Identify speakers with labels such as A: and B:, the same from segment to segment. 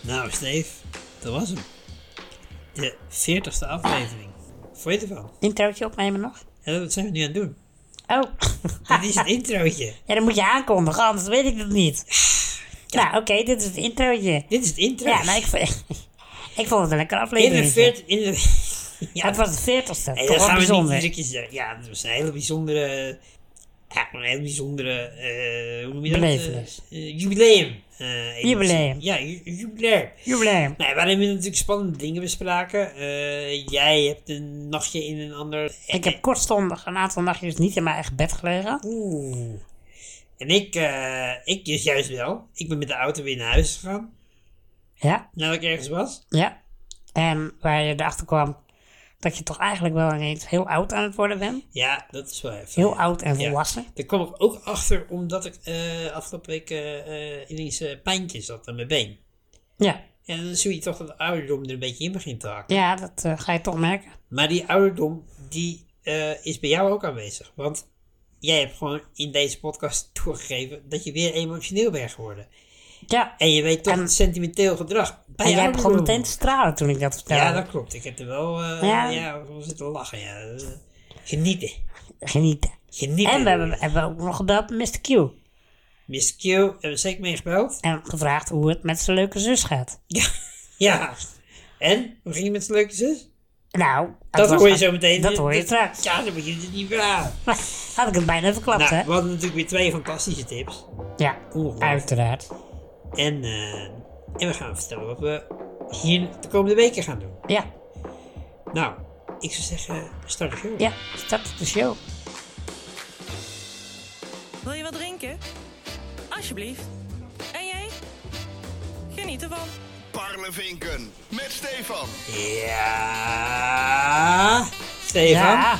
A: Nou, Steve, dat was hem. De 40ste aflevering. Vond je ervan?
B: Introotje opnemen nog?
A: En dat zijn we nu aan het doen.
B: Oh.
A: Dit is het introotje.
B: ja, dan moet je aankondigen, anders weet ik dat niet. Nou, oké, dit is het introotje.
A: Dit is het intro.
B: Ja, maar ik, vond- ik vond het een lekkere
A: In de
B: aflevering.
A: 40... In de...
B: Ja, het was het veertigste.
A: Nee,
B: Toch
A: dat
B: wel
A: gaan we niet
B: bijzonder.
A: iedere keer zeggen. Ja, het was een hele bijzondere... Ja, een hele bijzondere... eh, hoe noem je dat?
B: Belevenis.
A: Eh, jubileum. eh, editie.
B: Jubileum.
A: Ja, ju- jubileum.
B: Jubileum.
A: Nee, waarin we natuurlijk spannende dingen bespraken. Eh, jij hebt een nachtje in een ander...
B: Ik heb kortstondig een aantal nachtjes dus niet in mijn eigen bed gelegen.
A: Oeh. En ik, eh, ik dus juist wel. Ik ben met de auto weer naar huis gegaan.
B: Ja,
A: Nadat ik ergens was.
B: ja. En waar je erachter kwam dat je toch eigenlijk wel ineens heel oud aan het worden bent.
A: Ja, dat is wel even.
B: Heel oud en
A: Ja.
B: volwassen.
A: Daar kwam ik ook achter omdat ik eh, afgelopen week eh, eh, ineens eh, pijntjes had aan mijn been.
B: Ja,
A: En dan zie je toch dat de ouderdom er een beetje in begint te haken.
B: ja dat eh, ga je toch merken.
A: Maar die ouderdom, die eh, is bij jou ook aanwezig. Want jij hebt gewoon in deze podcast toegegeven dat je weer emotioneel bent geworden.
B: Ja.
A: En je weet toch het sentimenteel gedrag. Bij
B: En jij begon
A: ouderdom.
B: meteen te stralen toen ik dat vertelde.
A: Ja, dat klopt. Ik heb er wel eh ja.
B: Ja.
A: we zitten lachen. Ja. Eh, Genieten.
B: Genieten.
A: Genieten.
B: En we hebben, hebben we ook nog gebeld met Mr. Q.
A: Miss Q hebben we zeker mee gebeld.
B: En gevraagd hoe het met zijn leuke zus gaat.
A: Ja. En? Hoe ging het met zijn leuke zus?
B: Nou, het
A: Dat
B: was-
A: hoor je zo meteen.
B: Dat hoor je straks.
A: Ja, dan moet je het niet verhalen.
B: Had ik het bijna verklapt,
A: Nou,
B: hè?
A: we hadden natuurlijk weer twee fantastische tips.
B: Ja,
A: Ongelooflijk.
B: uiteraard.
A: En, eh, en we gaan vertellen wat we hier de komende weken gaan doen.
B: Ja,
A: Nou, ik zou zeggen, start de show.
B: ja, start de show.
C: Wil je wat drinken? Alsjeblieft. En jij? Geniet ervan.
D: Parlevinken met Stefan.
A: Ja. Stefan.
B: Ja.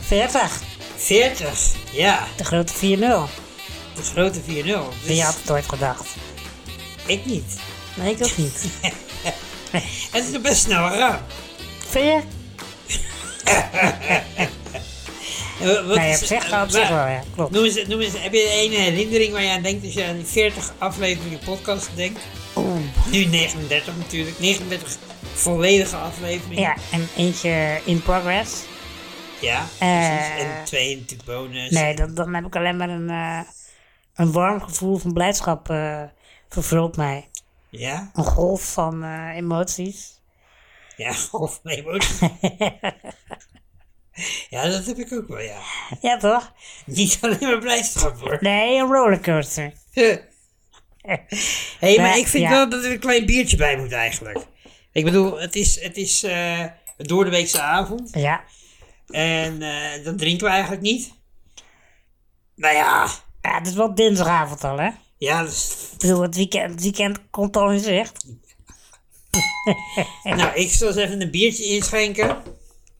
B: 40,
A: 40. Ja.
B: de grote 4-0.
A: De grote 4-0.
B: Wie
A: Dus
B: had het ooit gedacht?
A: ik niet.
B: Nee, ik ook niet.
A: Het is nog best snel gegaan.
B: Vind je?
A: Eh, Wat
B: Nee,
A: is-
B: op zich,
A: eh,
B: op zich
A: waar-
B: wel, ja, klopt.
A: Noem eens, noem eens, heb je een herinnering waar je aan denkt als je aan die 40 afleveringen podcast denkt? Nu 39 natuurlijk. 39 volledige afleveringen.
B: Ja, en eentje in progress.
A: Ja,
B: Eh.
A: precies. En twee natuurlijk bonus.
B: Nee, dan, dan heb ik alleen maar een, eh, een warm gevoel van blijdschap eh vervult mij.
A: Ja?
B: Een golf van eh, emoties.
A: Ja, of nee, bonus. ja, dat heb ik ook wel, ja.
B: Ja, toch?
A: Niet alleen maar blijdschap hoor.
B: Nee, een rollercoaster.
A: Hé, hey, maar
B: Nee,
A: ik vind
B: ja.
A: wel dat er een klein biertje bij moet eigenlijk. Ik bedoel, het is, het is eh, een door de weekse avond.
B: Ja,
A: En eh dat drinken we eigenlijk niet. Nou ja,
B: ja het is wel dinsdagavond al, hè?
A: ja dat is-
B: Ik bedoel, het weekend, het weekend komt al in zicht.
A: nou, ik zal eens even een biertje inschenken.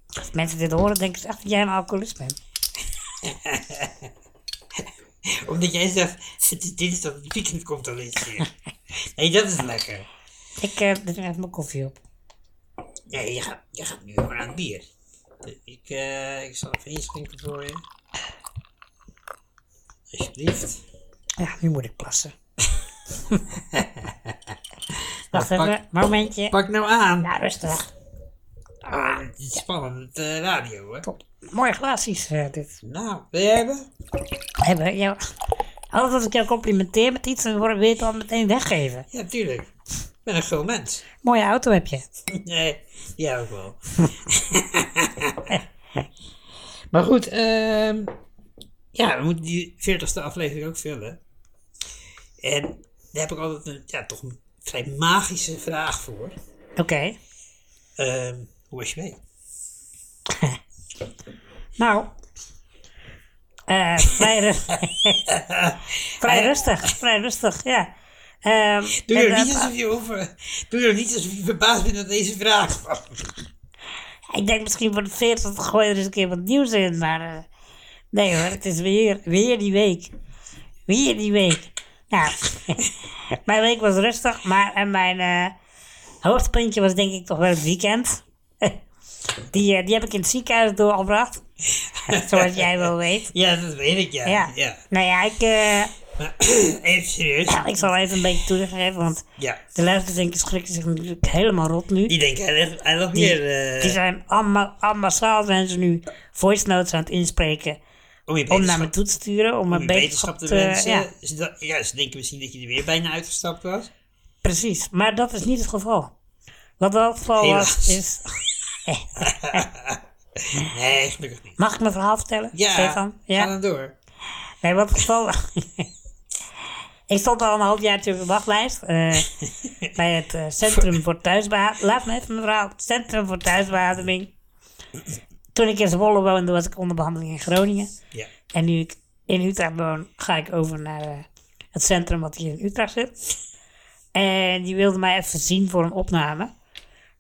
B: Als mensen dit horen, denken ze echt dat jij een alcoholist bent.
A: Omdat jij zegt, het is dinsdag, het weekend komt al eens hier. Nee, dat is lekker.
B: Ik eh doe even mijn koffie op.
A: Nee, je gaat, je gaat nu gewoon aan het bier. Ik, eh, ik zal even inschenken voor je. Alsjeblieft.
B: Ja, nu moet ik plassen. Wacht
A: Nou,
B: even, momentje.
A: Pak nou aan.
B: Ja, rustig.
A: Ah, het is spannend, eh, radio hè.
B: Top. Mooie glaasjes eh, dit.
A: Nou, wil jij hebben?
B: Hebben, ja. Alles als ik jou complimenteer met iets, dan word- wil je het al meteen weggeven.
A: Ja, tuurlijk. Ik ben een gul mens.
B: Mooie auto heb je.
A: Nee, ja ook wel. maar goed, ehm, ja, we moeten die 40ste aflevering ook vullen. En daar heb ik altijd een, ja, toch een vrij magische vraag voor.
B: Oké.
A: Ehm, hoe was je mee?
B: Nou. Eh, vrij, ru- vrij rustig. Vrij rustig, ja. Ehm,
A: Eh. Doe
B: en,
A: er niet
B: eh,
A: alsof je over, doe er niet alsof je verbaasd bent dat deze vraag kwam.
B: eh, Ik denk misschien voor de 40 gooi je er eens een keer wat nieuws in, maar. eh, nee hoor, het is weer, weer die week. Weer die week. Nou, mijn week was rustig, maar en mijn eh, hoogtepuntje was denk ik toch wel het weekend. die, eh, die heb ik in het ziekenhuis doorgebracht. Zoals jij wel weet.
A: Ja, dat weet ik ja.
B: Ja. Nou ja, ik, eh,
A: Maar even serieus.
B: Ik zal even een beetje toelichting geven, want
A: Ja.
B: de luisteraars denken schrikken zich natuurlijk helemaal rot nu.
A: Die denken, hij legt, hij legt
B: Die,
A: meer eh,
B: die zijn allemaal, allemaal massaal zijn ze nu voice notes aan het inspreken
A: om je beterschap,
B: om naar me toe te sturen, om
A: om je
B: een beterschap te...
A: wensen.
B: ja,
A: Ze da- ja, ze denken misschien dat je er weer bijna uitgestapt was.
B: precies. Maar dat is niet het geval. Wat wel het geval was,
A: Helaas.
B: is...
A: Nee, gelukkig niet.
B: Mag ik mijn verhaal vertellen,
A: Ja,
B: Stefan?
A: ga dan door.
B: Nee, wat het geval... ik stond al een half jaar op de wachtlijst eh, bij het eh, Centrum voor Thuisbeademing. Laat me even mijn verhaal. Het Centrum voor Thuisbeademing. Toen ik in Zwolle woonde, was ik onder behandeling in Groningen.
A: Ja.
B: En nu ik in Utrecht woon, ga ik over naar eh, het centrum wat hier in Utrecht zit. En die wilde mij even zien voor een opname.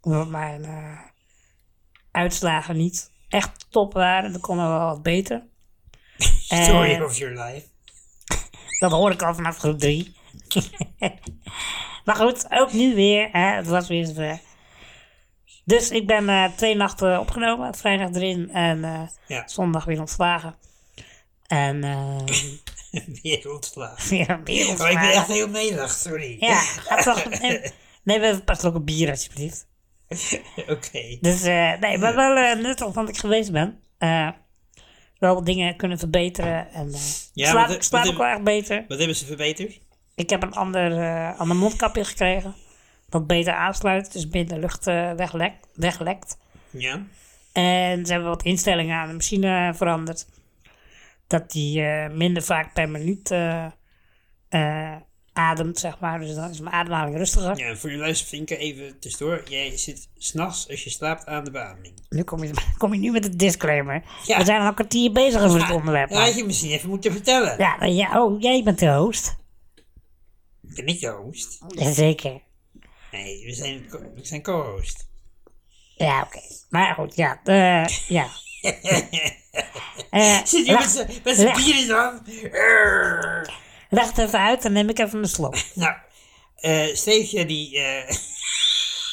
B: Omdat mijn eh, uitslagen niet echt top waren. Er kon wel wat beter. Eh,
A: Story
B: En-
A: of your life.
B: dat hoor ik al vanaf groep 3. maar goed, ook nu weer. Hè, het was weer zover. Dus ik ben eh, twee nachten opgenomen. Vrijdag erin en eh,
A: Ja,
B: zondag weer ontslagen. En eh,
A: weer ontslagen.
B: weer, weer
A: Oh, ik ben echt
B: ontslagen.
A: heel nederig, sorry.
B: Ja, gaat toch. Neem, neem even pas ook een bier alsjeblieft.
A: Oké.
B: Dus eh, nee, maar wel eh, nuttig dat ik geweest ben. Eh, wel wat dingen kunnen verbeteren. En, eh
A: Ja,
B: slaap,
A: want, eh,
B: slaap
A: want,
B: ik wel echt beter.
A: Wat hebben ze verbeterd?
B: Ik heb een ander, eh, ander mondkapje gekregen. Dat beter aansluit, dus minder lucht eh, weglek, weglekt.
A: Ja.
B: En ze hebben wat instellingen aan de machine veranderd. Dat die eh, minder vaak per minuut eh, eh, ademt, zeg maar. Dus dan is mijn ademhaling rustiger.
A: Ja, en voor je luistervinken even tussendoor. Jij zit s'nachts als je slaapt aan de beademing.
B: Nu kom je, kom je nu met een disclaimer.
A: Ja.
B: We zijn al een kwartier bezig over dit onderwerp.
A: Dat had
B: man.
A: je misschien even moeten vertellen.
B: Ja, nou ja, oh, jij bent de host.
A: Ben ik de host?
B: Jazeker.
A: Nee, we zijn, co- we zijn co-host.
B: Ja, oké. Maar goed, ja. eh, ja. Eh,
A: Zit je
B: leg-
A: met z'n- met zijn
B: leg-
A: bier in de hand? Urgh.
B: Leg het even uit, dan neem ik even een slok.
A: Nou, eh Steefje die... eh,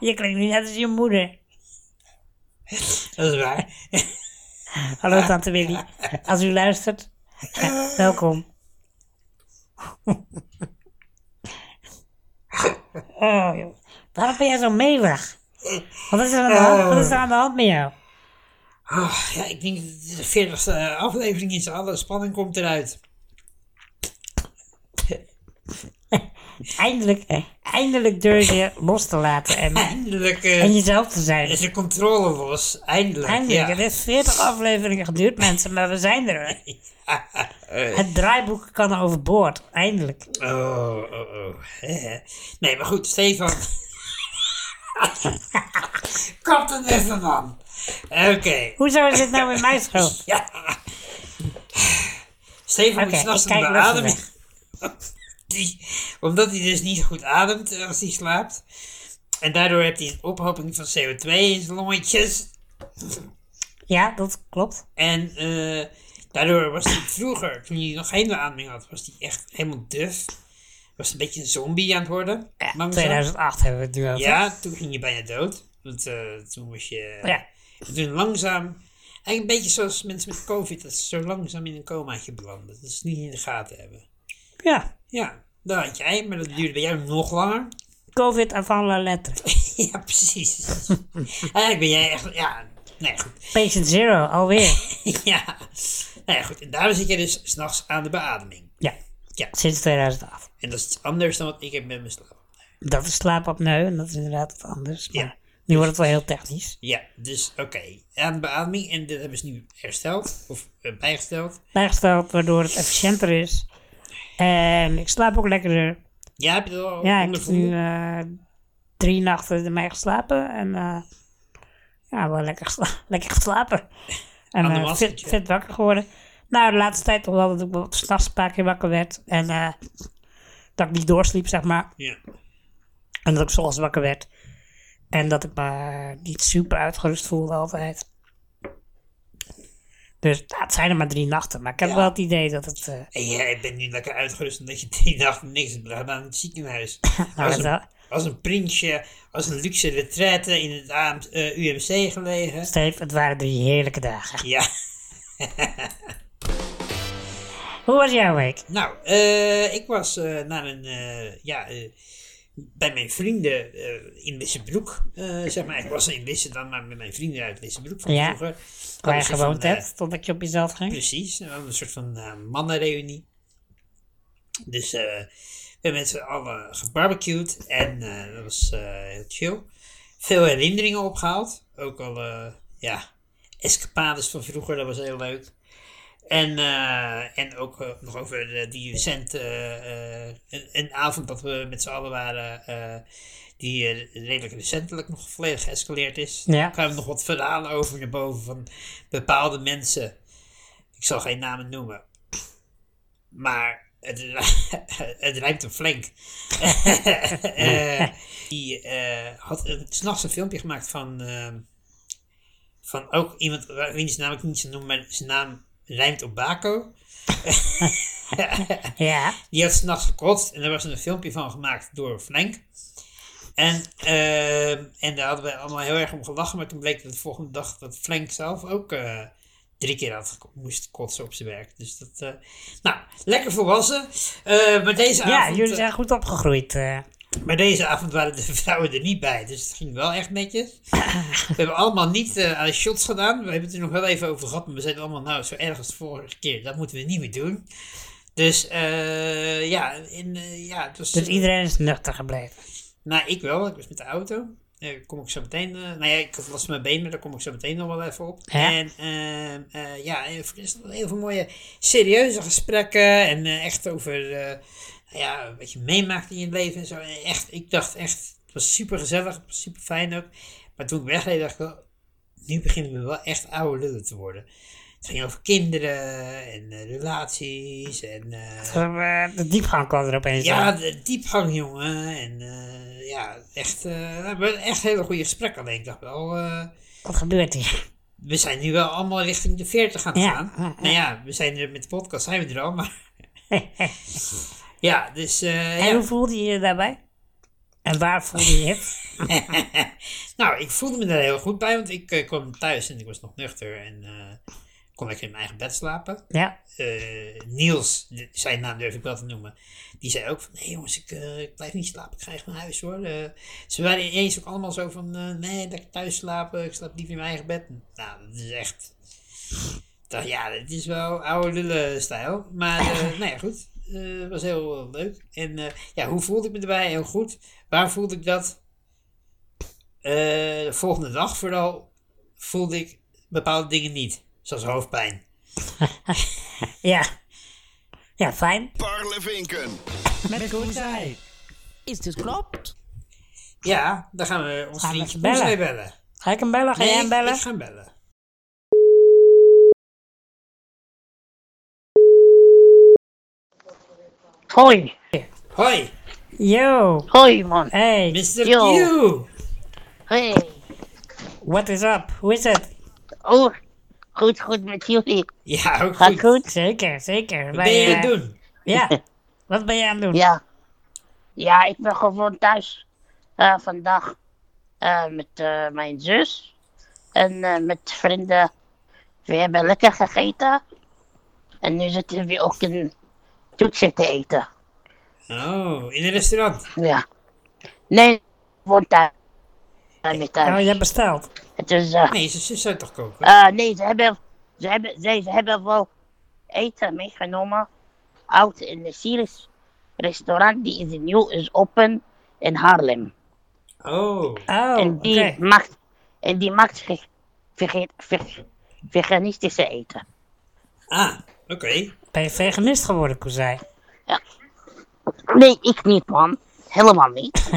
B: Je klinkt nu net als je moeder.
A: dat is waar.
B: Hallo tante Willy. Als u luistert, welkom. Oh, joh. Waarom ben jij zo melig? Wat is, er aan de hand? Wat is er aan de hand met jou?
A: Ah, ja, ik denk dat het de veertigste aflevering is. Alle spanning komt eruit.
B: Eindelijk, eindelijk durf je los te laten en,
A: Eindelijk eh,
B: en jezelf te zijn.
A: is de controle los. Eindelijk,
B: Eindelijk, het
A: ja.
B: heeft 40 afleveringen geduurd, mensen, maar we zijn er. Het draaiboek kan overboord, eindelijk.
A: Oh, oh, oh. Eh, Nee, maar goed, Stefan. Kap er even, man. Oké.
B: Hoezo is dit nou weer mijn schuld?
A: Ja. Stefan
B: Oké,
A: moet s'nachts
B: ik
A: een
B: kijk rustig
A: beademing. Die- omdat hij dus niet goed ademt eh, als hij slaapt. En daardoor heeft hij een ophoping van CO2 in zijn longetjes.
B: Ja, dat klopt.
A: En eh, daardoor was hij vroeger, toen hij nog geen beademing had, was hij echt helemaal duf. Was een beetje een zombie aan het worden. langzaam.
B: 2008 hebben we het nu over.
A: Ja, toen ging je bijna dood. Want eh, toen was je...
B: Oh Ja.
A: En toen langzaam... Eigenlijk een beetje zoals mensen met covid, dat ze zo langzaam in een comaatje belanden. Dat ze het niet in de gaten hebben.
B: Ja.
A: Ja, dat had jij, maar dat duurde bij jou nog langer.
B: Covid avant la lettre.
A: ja, precies. Eigenlijk ben jij echt... Ja, nee, goed.
B: Patient zero, alweer.
A: ja. Nee, goed. En daarom zit je dus s'nachts aan de beademing.
B: Ja.
A: Ja.
B: Sinds 2008.
A: En dat is iets anders dan wat ik heb met mijn slaap.
B: Dat is slaapapneu en dat is inderdaad wat anders. Maar
A: Ja.
B: nu wordt het wel heel technisch.
A: Ja, dus oké. Aan de beademing. En dat hebben ze nu hersteld. Of eh, bijgesteld.
B: Bijgesteld, waardoor het efficiënter is. En ik slaap ook lekkerder.
A: Ja, heb je dat al
B: Ja, ik heb
A: ondervonden?
B: nu eh, drie nachten ermee geslapen. En eh, ja, wel lekker, gesla- lekker geslapen.
A: Aan
B: En
A: de
B: eh, fit,
A: mastertje.
B: fit wakker geworden. Nou, de laatste tijd toch wel dat ik wel s'nachts een paar keer wakker werd. En eh, dat ik niet doorsliep, zeg maar.
A: Ja.
B: En dat ik zoals wakker werd. En dat ik me niet super uitgerust voelde altijd. Dus nou, het zijn er maar drie nachten. Maar ik heb
A: Ja.
B: wel het idee dat het... eh,
A: En jij bent nu lekker uitgerust omdat je drie dagen niks hebt gedaan aan het ziekenhuis.
B: nou,
A: als,
B: dat
A: een,
B: wel-
A: als een prinsje, als een luxe retraite in het AM, eh, UMC gelegen.
B: Steve, het waren drie heerlijke dagen.
A: Ja,
B: Hoe was jouw week?
A: Nou, eh, ik was eh, naar een, eh, ja, eh, bij mijn vrienden eh, in Wissenbroek, eh, zeg maar. Ik was in Wissen dan, maar met mijn vrienden uit Wissenbroek van
B: Ja.
A: vroeger.
B: Waar
A: Hadden
B: je
A: ze
B: gewoond
A: van, eh,
B: hebt, totdat je op jezelf ging?
A: Precies, we hadden een soort van eh, mannenreunie. Dus eh, we hebben met z'n allen gebarbecued en eh, dat was eh, heel chill. Veel herinneringen opgehaald, ook al eh, ja, escapades van vroeger, dat was heel leuk. En, eh, en ook eh, nog over eh, die recente, eh, eh, een, een avond dat we met z'n allen waren, eh, die eh, redelijk recentelijk nog volledig geëscaleerd is.
B: Ja.
A: Er kwamen nog wat verhalen over naar boven van bepaalde mensen. Ik zal geen namen noemen. Maar het, ri- het rijmt hem flink. Eh, die eh, had een- s'nachts een filmpje gemaakt van, ehm, van ook iemand, waar- wiens naam ik niet zou noemen, maar zijn naam rijmt op Baco.
B: Ja.
A: Die had s'nachts gekotst en daar was een filmpje van gemaakt door Frank. En, ehm, en daar hadden we allemaal heel erg om gelachen, maar toen bleek dat de volgende dag dat Frank zelf ook eh, drie keer had geko- moest kotsen op zijn werk. Dus dat, eh, nou, lekker volwassen. Eh, maar, deze
B: Ja,
A: avond,
B: jullie zijn goed opgegroeid. eh.
A: maar deze avond waren de vrouwen er niet bij, dus het ging wel echt netjes. we hebben allemaal niet eh, aan de shots gedaan, we hebben het er nog wel even over gehad, maar we zeiden allemaal, nou, zo erg als de vorige keer, dat moeten we niet meer doen. Dus eh, ja, in, eh, ja, het was...
B: dus iedereen is nuchter gebleven.
A: Nou, ik wel. Ik was met de auto. Daar kom ik zo meteen... eh, nou ja, ik had last van mijn benen. Daar kom ik zo meteen nog wel even op.
B: Ja.
A: En ehm, eh, ja, eh, voor de rest hadden we heel veel mooie serieuze gesprekken. En eh, echt over eh, nou ja, wat je meemaakt in je leven en zo. En echt, ik dacht echt... Het was super gezellig. Het was super fijn ook. Maar toen ik wegreed dacht ik wel... Nu beginnen we wel echt oude lullen te worden. Het ging over kinderen en eh, relaties en... eh,
B: Eh, De diepgang kwam er opeens
A: ja,
B: aan.
A: de diepgang, jongen. En eh, ja, echt, eh, we hebben echt hele goede gesprekken. Alleen ik dacht wel, eh,
B: Wat gebeurt hier?
A: we zijn nu wel allemaal richting de 40 gaan
B: Ja,
A: gaan.
B: ja, ja.
A: Nou ja, we zijn er met de podcast, zijn we er al, maar... ja, dus... eh,
B: En
A: ja.
B: hoe voelde je je daarbij? En waar voelde je het?
A: nou, ik voelde me daar heel goed bij, want ik eh, kwam thuis en ik was nog nuchter en... eh, kon lekker in mijn eigen bed slapen.
B: Ja.
A: Eh, Niels, de- zijn naam durf ik wel te noemen, die zei ook van, nee jongens, ik, eh, ik blijf niet slapen, ik ga echt naar huis hoor. Eh, ze waren ineens ook allemaal zo van, eh, nee, lekker thuis slapen, ik slaap liever in mijn eigen bed. Nou, dat is echt, Ik dacht, ja, dit is wel oude lullen stijl. Maar, eh nou ja, goed, Eh, was heel eh, leuk. En eh, ja, hoe voelde ik me erbij? Heel goed. Waar voelde ik dat? Eh, de volgende dag vooral voelde ik bepaalde dingen niet, zoals hoofdpijn.
B: Ja. Ja, fijn.
D: Parlevinken.
C: Met Koenzij. Is dit klopt?
A: Ja, dan gaan we ons
B: Gaan we
A: vriendje
B: even bellen.
A: Koezij bellen.
B: Ga ik hem bellen? Ga jij hem
A: Nee, ik-
B: bellen?
A: Ik ga hem bellen.
E: Hoi,
A: Hoi,
B: Yo.
E: hoi man.
B: Hey.
A: Mr.
E: Yo.
A: Q.
E: Hey.
B: What is up? Hoe is het?
E: Oh, goed, goed met jullie.
A: Ja, ook
E: Gaat
A: goed.
E: goed?
B: Zeker, zeker.
A: Wat ben je aan
B: eh,
A: het doen?
B: Ja. Wat ben je aan het doen?
E: Ja. Ja, ik ben gewoon thuis eh, vandaag eh, met eh, mijn zus en eh, met vrienden. We hebben lekker gegeten en nu zitten we ook een toetje te eten.
A: Oh, in een restaurant.
E: Ja. Nee, gewoon thuis. Eh, met thuis.
B: Oh, je hebt besteld.
E: Het is, eh,
A: Nee, zijn zus zou toch koken?
E: Eh, nee, ze hebben, ze, hebben, ze, ze hebben wel eten meegenomen. Oud in de Syrisch restaurant, die is nieuw, is open in Haarlem.
A: Oh,
B: Oh,
E: en,
B: oké.
E: die maakt, en die maakt veg- vege- veg- veganistische eten.
A: ah, oké.
B: Ben je veganist geworden, Koezij?
E: Nee, ik niet, man. Helemaal niet.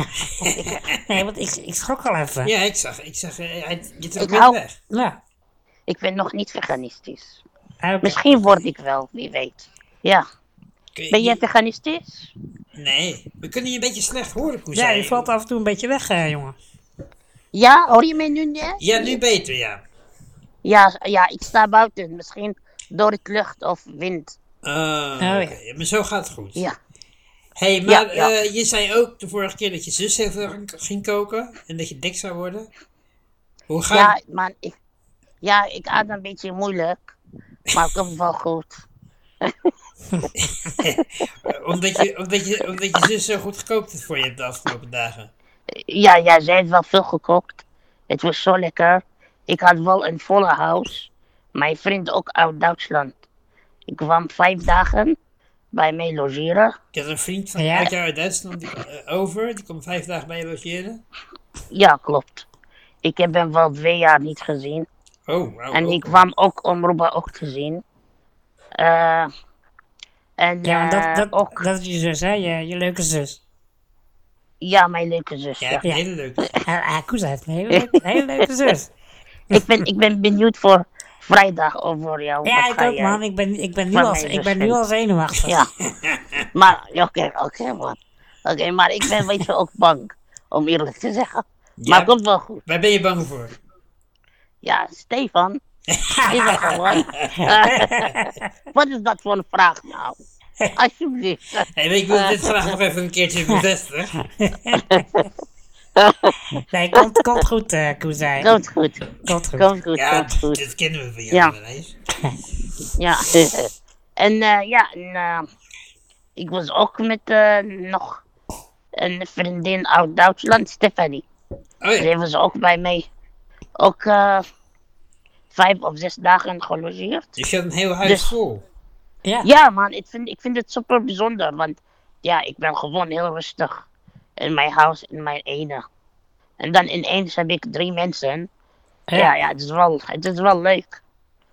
B: Nee, want ik, ik schrok al even.
A: Ja, ik zag, ik zag, eh, hij, je trok
E: Ik
A: net
E: hou-
A: weg.
B: Ja.
E: Ik ben nog niet veganistisch.
B: Ah, oké.
E: Misschien word ik wel, wie weet. Ja.
A: Kun je-
E: Ben jij veganistisch?
A: Nee, we kunnen je een beetje slecht horen, Koes.
B: Ja, je valt af en toe een beetje weg, eh, jongen.
E: Ja, hoor je mij nu niet?
A: Ja, nu beter, ja.
E: Ja, ja, ik sta buiten. Misschien door het lucht of wind.
A: Oh,
B: ja.
A: oké. Maar zo gaat het goed.
E: Ja.
A: hey, maar
E: Ja, ja.
A: eh, je zei ook de vorige keer dat je zus heel veel ging- ging koken en dat je dik zou worden. Hoe gaat
E: Ja, maar ik, ja, ik had een beetje moeilijk. Maar ik heb het wel goed.
A: omdat, je, omdat, je, omdat je zus zo goed gekookt heeft voor je de afgelopen dagen.
E: Ja, ja, zij heeft wel veel gekookt. Het was zo lekker. Ik had wel een volle huis. Mijn vriend ook uit Duitsland. Ik kwam vijf dagen bij mij logeren.
A: Ik had een vriend van
B: Ja.
A: uit jou uit Duitsland die, eh, over, die kwam vijf dagen bij je logeren.
E: Ja, klopt. Ik heb hem wel twee jaar niet gezien.
A: Oh, wauw.
E: En
A: ook.
E: ik kwam ook om Roba ook te zien. Eh, en
B: Ja, want dat,
E: eh,
B: dat,
E: ook,
B: dat is je zus, hè? Je, je leuke zus.
E: ja, mijn leuke zus.
A: Jij
E: ja.
A: hebt een hele leuke.
B: Ha- Hakuza Eh, heeft een hele leuke, hele leuke zus.
E: Ik, ben, ik ben benieuwd voor vrijdag over jou.
B: Ja,
E: Wat
B: ik
E: ga
B: ook,
E: je-
B: man. Ik ben, ik ben, nu,
E: Van
B: al,
E: mijn
B: ik
E: zus
B: ben nu al
E: vinden.
B: zenuwachtig.
E: Ja. Maar, ja, oké, oké, man. Oké, maar ik ben een beetje ook bang, om eerlijk te zeggen.
A: Ja.
E: Maar het komt wel goed.
A: Waar ben je bang voor?
E: Ja, Stefan. Is dat gewoon? Wat is dat voor een vraag nou? Alsjeblieft.
A: Hey, ik wil dit graag nog even een keertje bevestigen.
B: Nee, komt, komt goed, eh Koezij.
E: Komt goed.
B: Komt goed.
E: Komt goed,
A: Ja,
E: komt goed.
A: dit kennen we van jou,
E: Ja.
A: Marijs.
E: Ja. En eh, ja, en, eh, ik was ook met eh, nog een vriendin uit Duitsland, Stefanie.
A: Oh ja.
E: Zij was ook bij mij. Ook eh, vijf of zes dagen gelogeerd.
A: Dus je had een heel huis
E: Dus-
A: vol.
B: Ja.
E: Ja, man, ik vind, ik vind het super bijzonder. Want ja, ik ben gewoon heel rustig in mijn huis, in mijn ene. En dan ineens heb ik drie mensen. Ja, ja, het, is wel, het is wel leuk.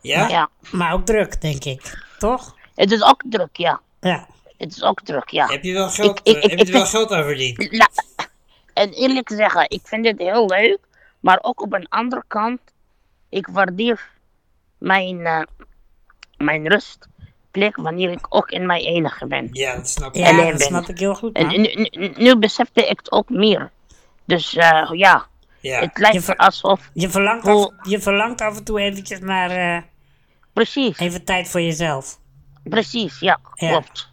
A: Ja?
E: Ja.
B: Maar ook druk, denk ik. Toch?
E: Het is ook druk, ja.
B: Ja.
E: Het is ook druk, ja.
A: Heb je wel geld,
E: Ik-
A: eh,
E: ik- ik-
A: heb je er
E: ik-
A: wel geld aan verdiend?
E: Nou, en eerlijk zeggen, ik vind het heel leuk. Maar ook op een andere kant, ik waardeer mijn, eh, mijn rustplek wanneer ik ook in mijn enige ben.
A: Ja, dat snap ik.
B: Ja,
E: Alleen
B: dat
E: ben.
B: snap ik heel goed,
E: En
B: man.
E: nu, nu, nu besefte ik het ook meer. Dus eh, ja,
A: Ja.
E: het lijkt
B: Je ver-
E: alsof.
B: Je verlangt, af, je verlangt af en toe eventjes naar eh,
E: Precies,
B: even tijd voor jezelf.
E: precies, ja,
B: Ja. Dus-
E: klopt.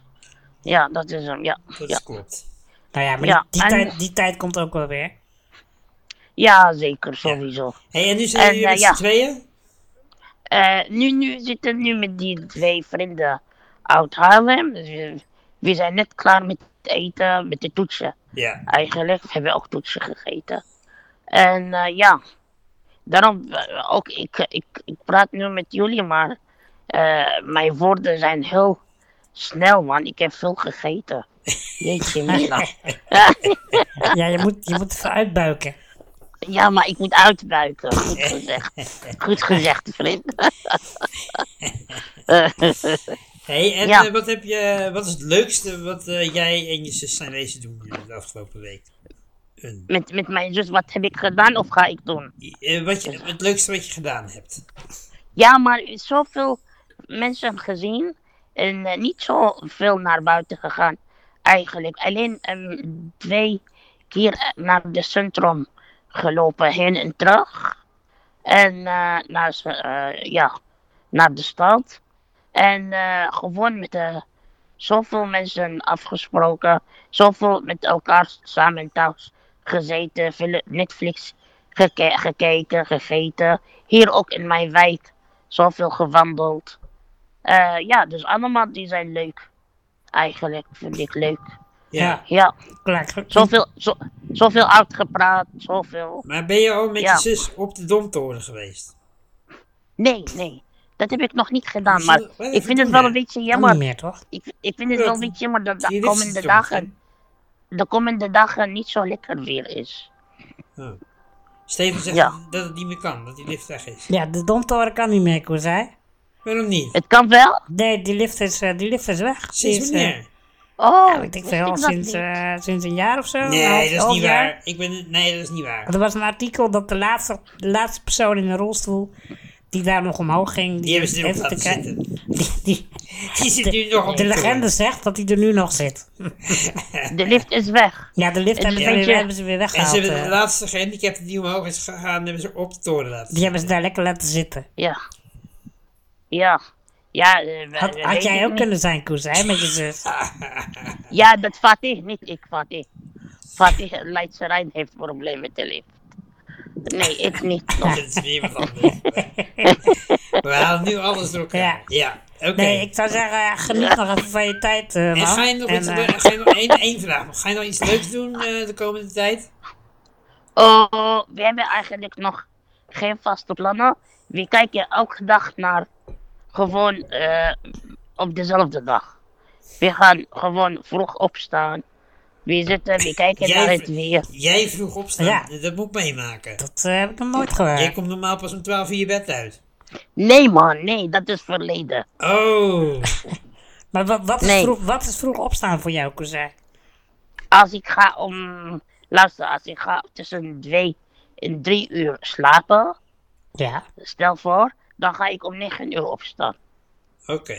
E: Ja, dat is hem, ja.
A: Dat
E: Ja,
A: klopt.
B: Nou ja, maar
E: Ja,
B: die, die
E: en-
B: tijd, die tijd komt ook wel weer.
E: ja zeker, sowieso.
A: hey, en nu zijn
E: En,
A: jullie
E: eh,
A: met
E: ja.
A: z'n tweeën?
E: Eh, nu, nu zitten we nu met die twee vrienden uit Haarlem. Dus we, we zijn net klaar met het eten, met de toetsen
A: Ja.
E: eigenlijk. We hebben ook toetsen gegeten. En eh, ja, daarom eh, ook, ik, ik, ik praat nu met jullie, maar eh, mijn woorden zijn heel snel, man. Ik heb veel gegeten. Jeetje, Mina.
B: Ja, je moet, je moet even uitbuiken.
E: Ja, maar ik moet uitbuiken. Goed gezegd. Goed gezegd, vriend. Eh,
A: hey, en
E: Ja.
A: eh, wat, heb je, wat is het leukste wat eh, jij en je zus zijn wezen doen hier de afgelopen week? Een,
E: Met, met mijn zus, wat heb ik gedaan of ga ik doen?
A: eh, wat je, het leukste wat je gedaan hebt?
E: Ja, maar zoveel mensen gezien en eh, niet zo veel naar buiten gegaan eigenlijk. Alleen ehm, twee keer eh, naar de centrum gelopen, heen en terug. En eh, naar, z- eh, ja, naar de stad. En eh, gewoon met eh, zoveel mensen afgesproken, zoveel met elkaar samen thuis gezeten, veel Netflix geke- gekeken, gegeten. Hier ook in mijn wijk zoveel gewandeld. Eh, ja, dus allemaal die zijn leuk. Eigenlijk vind ik leuk.
A: Ja.
E: Ja,
B: Klaar.
E: zoveel, zo, zoveel uitgepraat, zoveel.
A: Maar ben je al met
E: Ja.
A: je zus op de domtoren geweest?
E: Nee, nee, dat heb ik nog niet gedaan.
A: Zo,
E: Maar
A: wat
E: ik vind het
A: doen,
E: wel
A: hè?
E: een beetje
B: Kan niet
E: jammer.
B: meer, toch?
E: Ik, ik vind het wel een
A: Ja,
E: beetje jammer dat de
A: Die liefst
E: komende
A: is toch, hè?
E: dagen, de komende dagen niet zo lekker weer is.
A: Oh. Steven zegt
E: Ja.
A: dat het niet meer kan, dat die lift weg is.
B: Ja, de domtoren kan niet meer, Koezij.
A: Waarom niet?
E: Het kan wel.
B: Nee, die lift is, eh, die lift is weg. Die
A: Sinds
B: is, eh,
A: wanneer?
E: Oh,
B: Ja, weet ik
E: wist
B: veel,
E: dat
B: sinds,
E: niet.
B: eh, sinds een jaar of zo. een half-
A: Nee, dat is
B: half
A: niet
B: jaar.
A: waar. Ik ben, nee, dat is niet waar.
B: Want Er was een artikel dat de laatste, de laatste persoon in een rolstoel die daar nog omhoog ging...
A: Die hebben ze erop
B: heeft
A: laten
B: te kri-
A: zitten.
B: Die, die-
A: Die zit nu nog op
B: de
A: de
B: legende
A: toren.
B: zegt dat hij er nu nog zit.
E: De lift is weg.
B: Ja, de lift
E: Het
B: hebben ze,
E: vind
B: weer,
E: je-
B: hebben ze weer
A: En
B: weggehaald.
A: ze hebben de
B: eh.
A: laatste gehandicapte die omhoog is gegaan, hebben ze op de toren laten
B: die hebben ze daar lekker laten zitten.
E: Ja. Ja. Ja, eh, we-
B: Had,
E: we
B: had
E: weten
B: jij
E: het
B: ook
E: niet.
B: kunnen zijn, Koes, hè, met je zus.
E: Ja, dat Fatih niet, ik Fatih. Fatih Leidse Rijn heeft problemen met de lift. Nee, ik niet.
A: zitten. Dat is weer wat anders. We halen nu alles door elkaar. Ja.
B: Ja.
A: Oké.
B: Nee, ik zou zeggen, geniet nog even van je tijd, eh,
A: En
B: man.
A: ga je nog, iets,
B: eh,
A: ga je nog één, één vraag nog. Ga je nog iets leuks doen eh, de komende tijd?
E: Oh, we hebben eigenlijk nog geen vaste plannen. We kijken elke dag naar gewoon eh, op dezelfde dag. We gaan gewoon vroeg opstaan. We zitten, we kijken
A: Jij
E: naar het
A: vro-
E: weer.
A: Jij vroeg opstaan,
B: Ja.
A: dat moet ik meemaken.
B: dat eh, heb ik nog nooit gehoord.
A: Jij komt normaal pas om 12 uur je bed uit.
E: Nee man, nee, dat is verleden.
A: Oh,
B: Maar wat, wat, is
E: Nee.
B: vroeg, wat is vroeg opstaan voor jou, Cousin?
E: Als ik ga om, luister, als ik ga tussen twee en drie uur slapen,
B: Ja.
E: stel voor, dan ga ik om negen uur opstaan.
A: oké.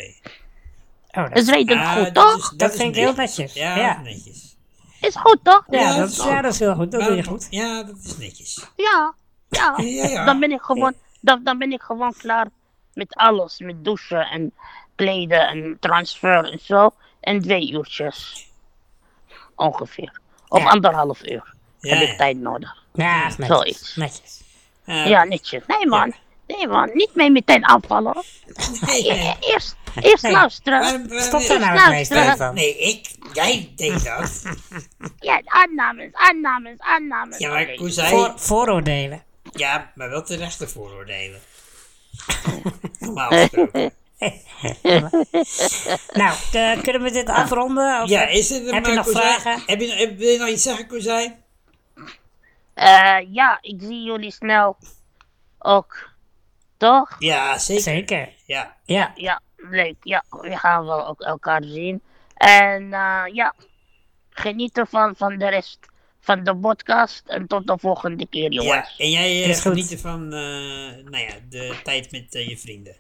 B: Oh, dat,
E: Dat weet ik
A: Ah,
E: goed,
A: dat
E: toch?
A: is-
B: dat
A: is
B: vind ik heel
A: netjes.
B: netjes.
A: Ja,
B: Ja.
A: dat is netjes.
E: Is goed, toch?
B: ja,
A: Ja,
B: dat,
A: dat
B: is,
A: is
B: ja, dat is heel goed. Dat doe je
A: Maar-
B: goed.
A: Ja, dat is netjes.
E: Ja, ja.
A: Ja, ja.
E: Dan ben ik gewoon, dan, dan ben ik gewoon klaar met alles. Met douchen en kleden en transfer en zo. En twee uurtjes. Ongeveer. Of
B: Ja.
E: anderhalf uur
A: ja,
E: heb ik
A: ja.
E: tijd nodig.
B: Ja, dat is netjes.
E: Zoiets.
B: netjes.
A: Ah,
E: Ja, netjes. Nee man. Nee man, niet mee meteen aanvallen.
A: nee, nee.
E: E- Eerst, eerst
B: Nee.
E: luisteren.
A: Waarom- waarom-
B: Stop er nou
E: nou,
B: mee,
E: terug.
B: Stefan.
A: Nee, ik, jij deed dat.
E: Ja, aannames, aannames, aannames.
A: Ja, maar
E: Oké.
A: hoe zei
B: Voor, vooroordelen.
A: Ja, maar wel terechte vooroordelen. Normaal gesproken.
B: Nou, eh, kunnen we dit afronden? Of
A: Ah. Ja, is het een eh,
B: Heb je nog
A: Kozijn?
B: vragen?
A: Heb je, heb, wil je nog iets zeggen, Kozijn?
E: Eh, ja, ik zie jullie snel. Ook. Toch?
A: Ja, zeker.
B: Zeker.
A: Ja.
B: Ja.
E: Ja, leuk. Ja, we gaan wel ook elkaar zien. En eh, ja, geniet ervan van de rest van de podcast. En tot de volgende keer, jongens.
A: ja. En jij eh,
B: Is goed.
A: geniet ervan, eh, nou ja, de tijd met eh, je vrienden.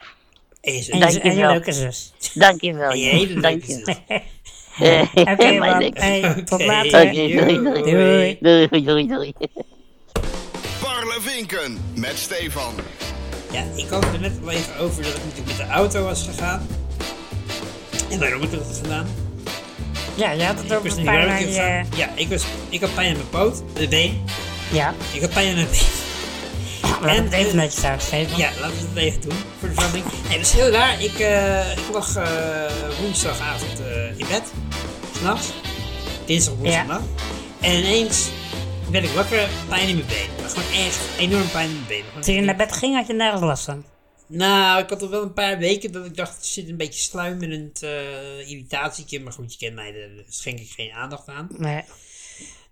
A: En je
B: En
A: zus.
B: je, en je
E: Dankjewel.
B: leuke zus.
E: Dankjewel.
A: En je
E: jongens.
A: hele leuke
E: Dankjewel.
A: zus.
B: Oké,
E: Mijn
B: man.
E: leuke-
B: Hey, tot
A: Oké.
B: later.
E: Oké, doei, doei.
B: Doei.
E: Doei, doei, doei.
D: Parlevinken met Stefan.
A: Ja, ik had het er net al even over dat ik natuurlijk met de auto was gegaan. En waarom heb ik dat gedaan?
B: Ja, je had het
A: Ik
B: over
A: was
B: een
A: niet
B: paar
A: werk
B: dagen,
A: gegaan. Ja, ik, was, ik had pijn aan mijn poot, mijn been.
B: eh, Ja,
A: Ik had pijn aan mijn been.
B: laat het
A: eh,
B: even netjes uitgeven.
A: Ja, laten we het even doen voor de verandering. Nee, dat is heel raar. Ik, eh, ik lag eh, woensdagavond eh, in bed. S'nachts. Dinsdag, woensdag. nacht. En ineens werd ik wakker, pijn in mijn been. Maar gewoon echt enorm pijn in mijn been. Gewoon-
B: Toen je naar bed ging, had je nergens last van.
A: Nou, ik had al wel een paar weken dat ik dacht, er zit een beetje sluimerend eh irritatie in. Maar goed, je kent mij, daar schenk ik geen aandacht aan.
B: Nee.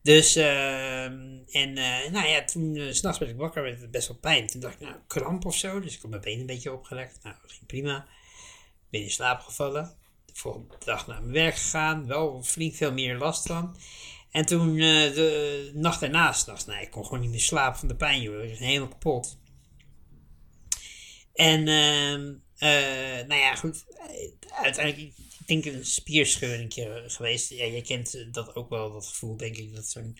A: Dus, ehm, en eh, nou ja, toen eh, 's s'nachts werd ik wakker, werd het best wel pijn. Toen dacht ik, nou, kramp of zo. Dus ik had mijn been een beetje opgerekt. Nou, dat ging prima. Ik ben in slaap gevallen. De volgende dag naar mijn werk gegaan. Wel flink veel meer last van. En toen, eh, de nacht daarna, 's nachts, nou, ik kon gewoon niet meer slapen van de pijn, joh. Ik was helemaal kapot. En, ehm, eh, nou ja, goed. Uiteindelijk, ik denk een spierscheuring geweest. Ja, jij kent eh, dat ook wel, dat gevoel, denk ik. Dat zo'n,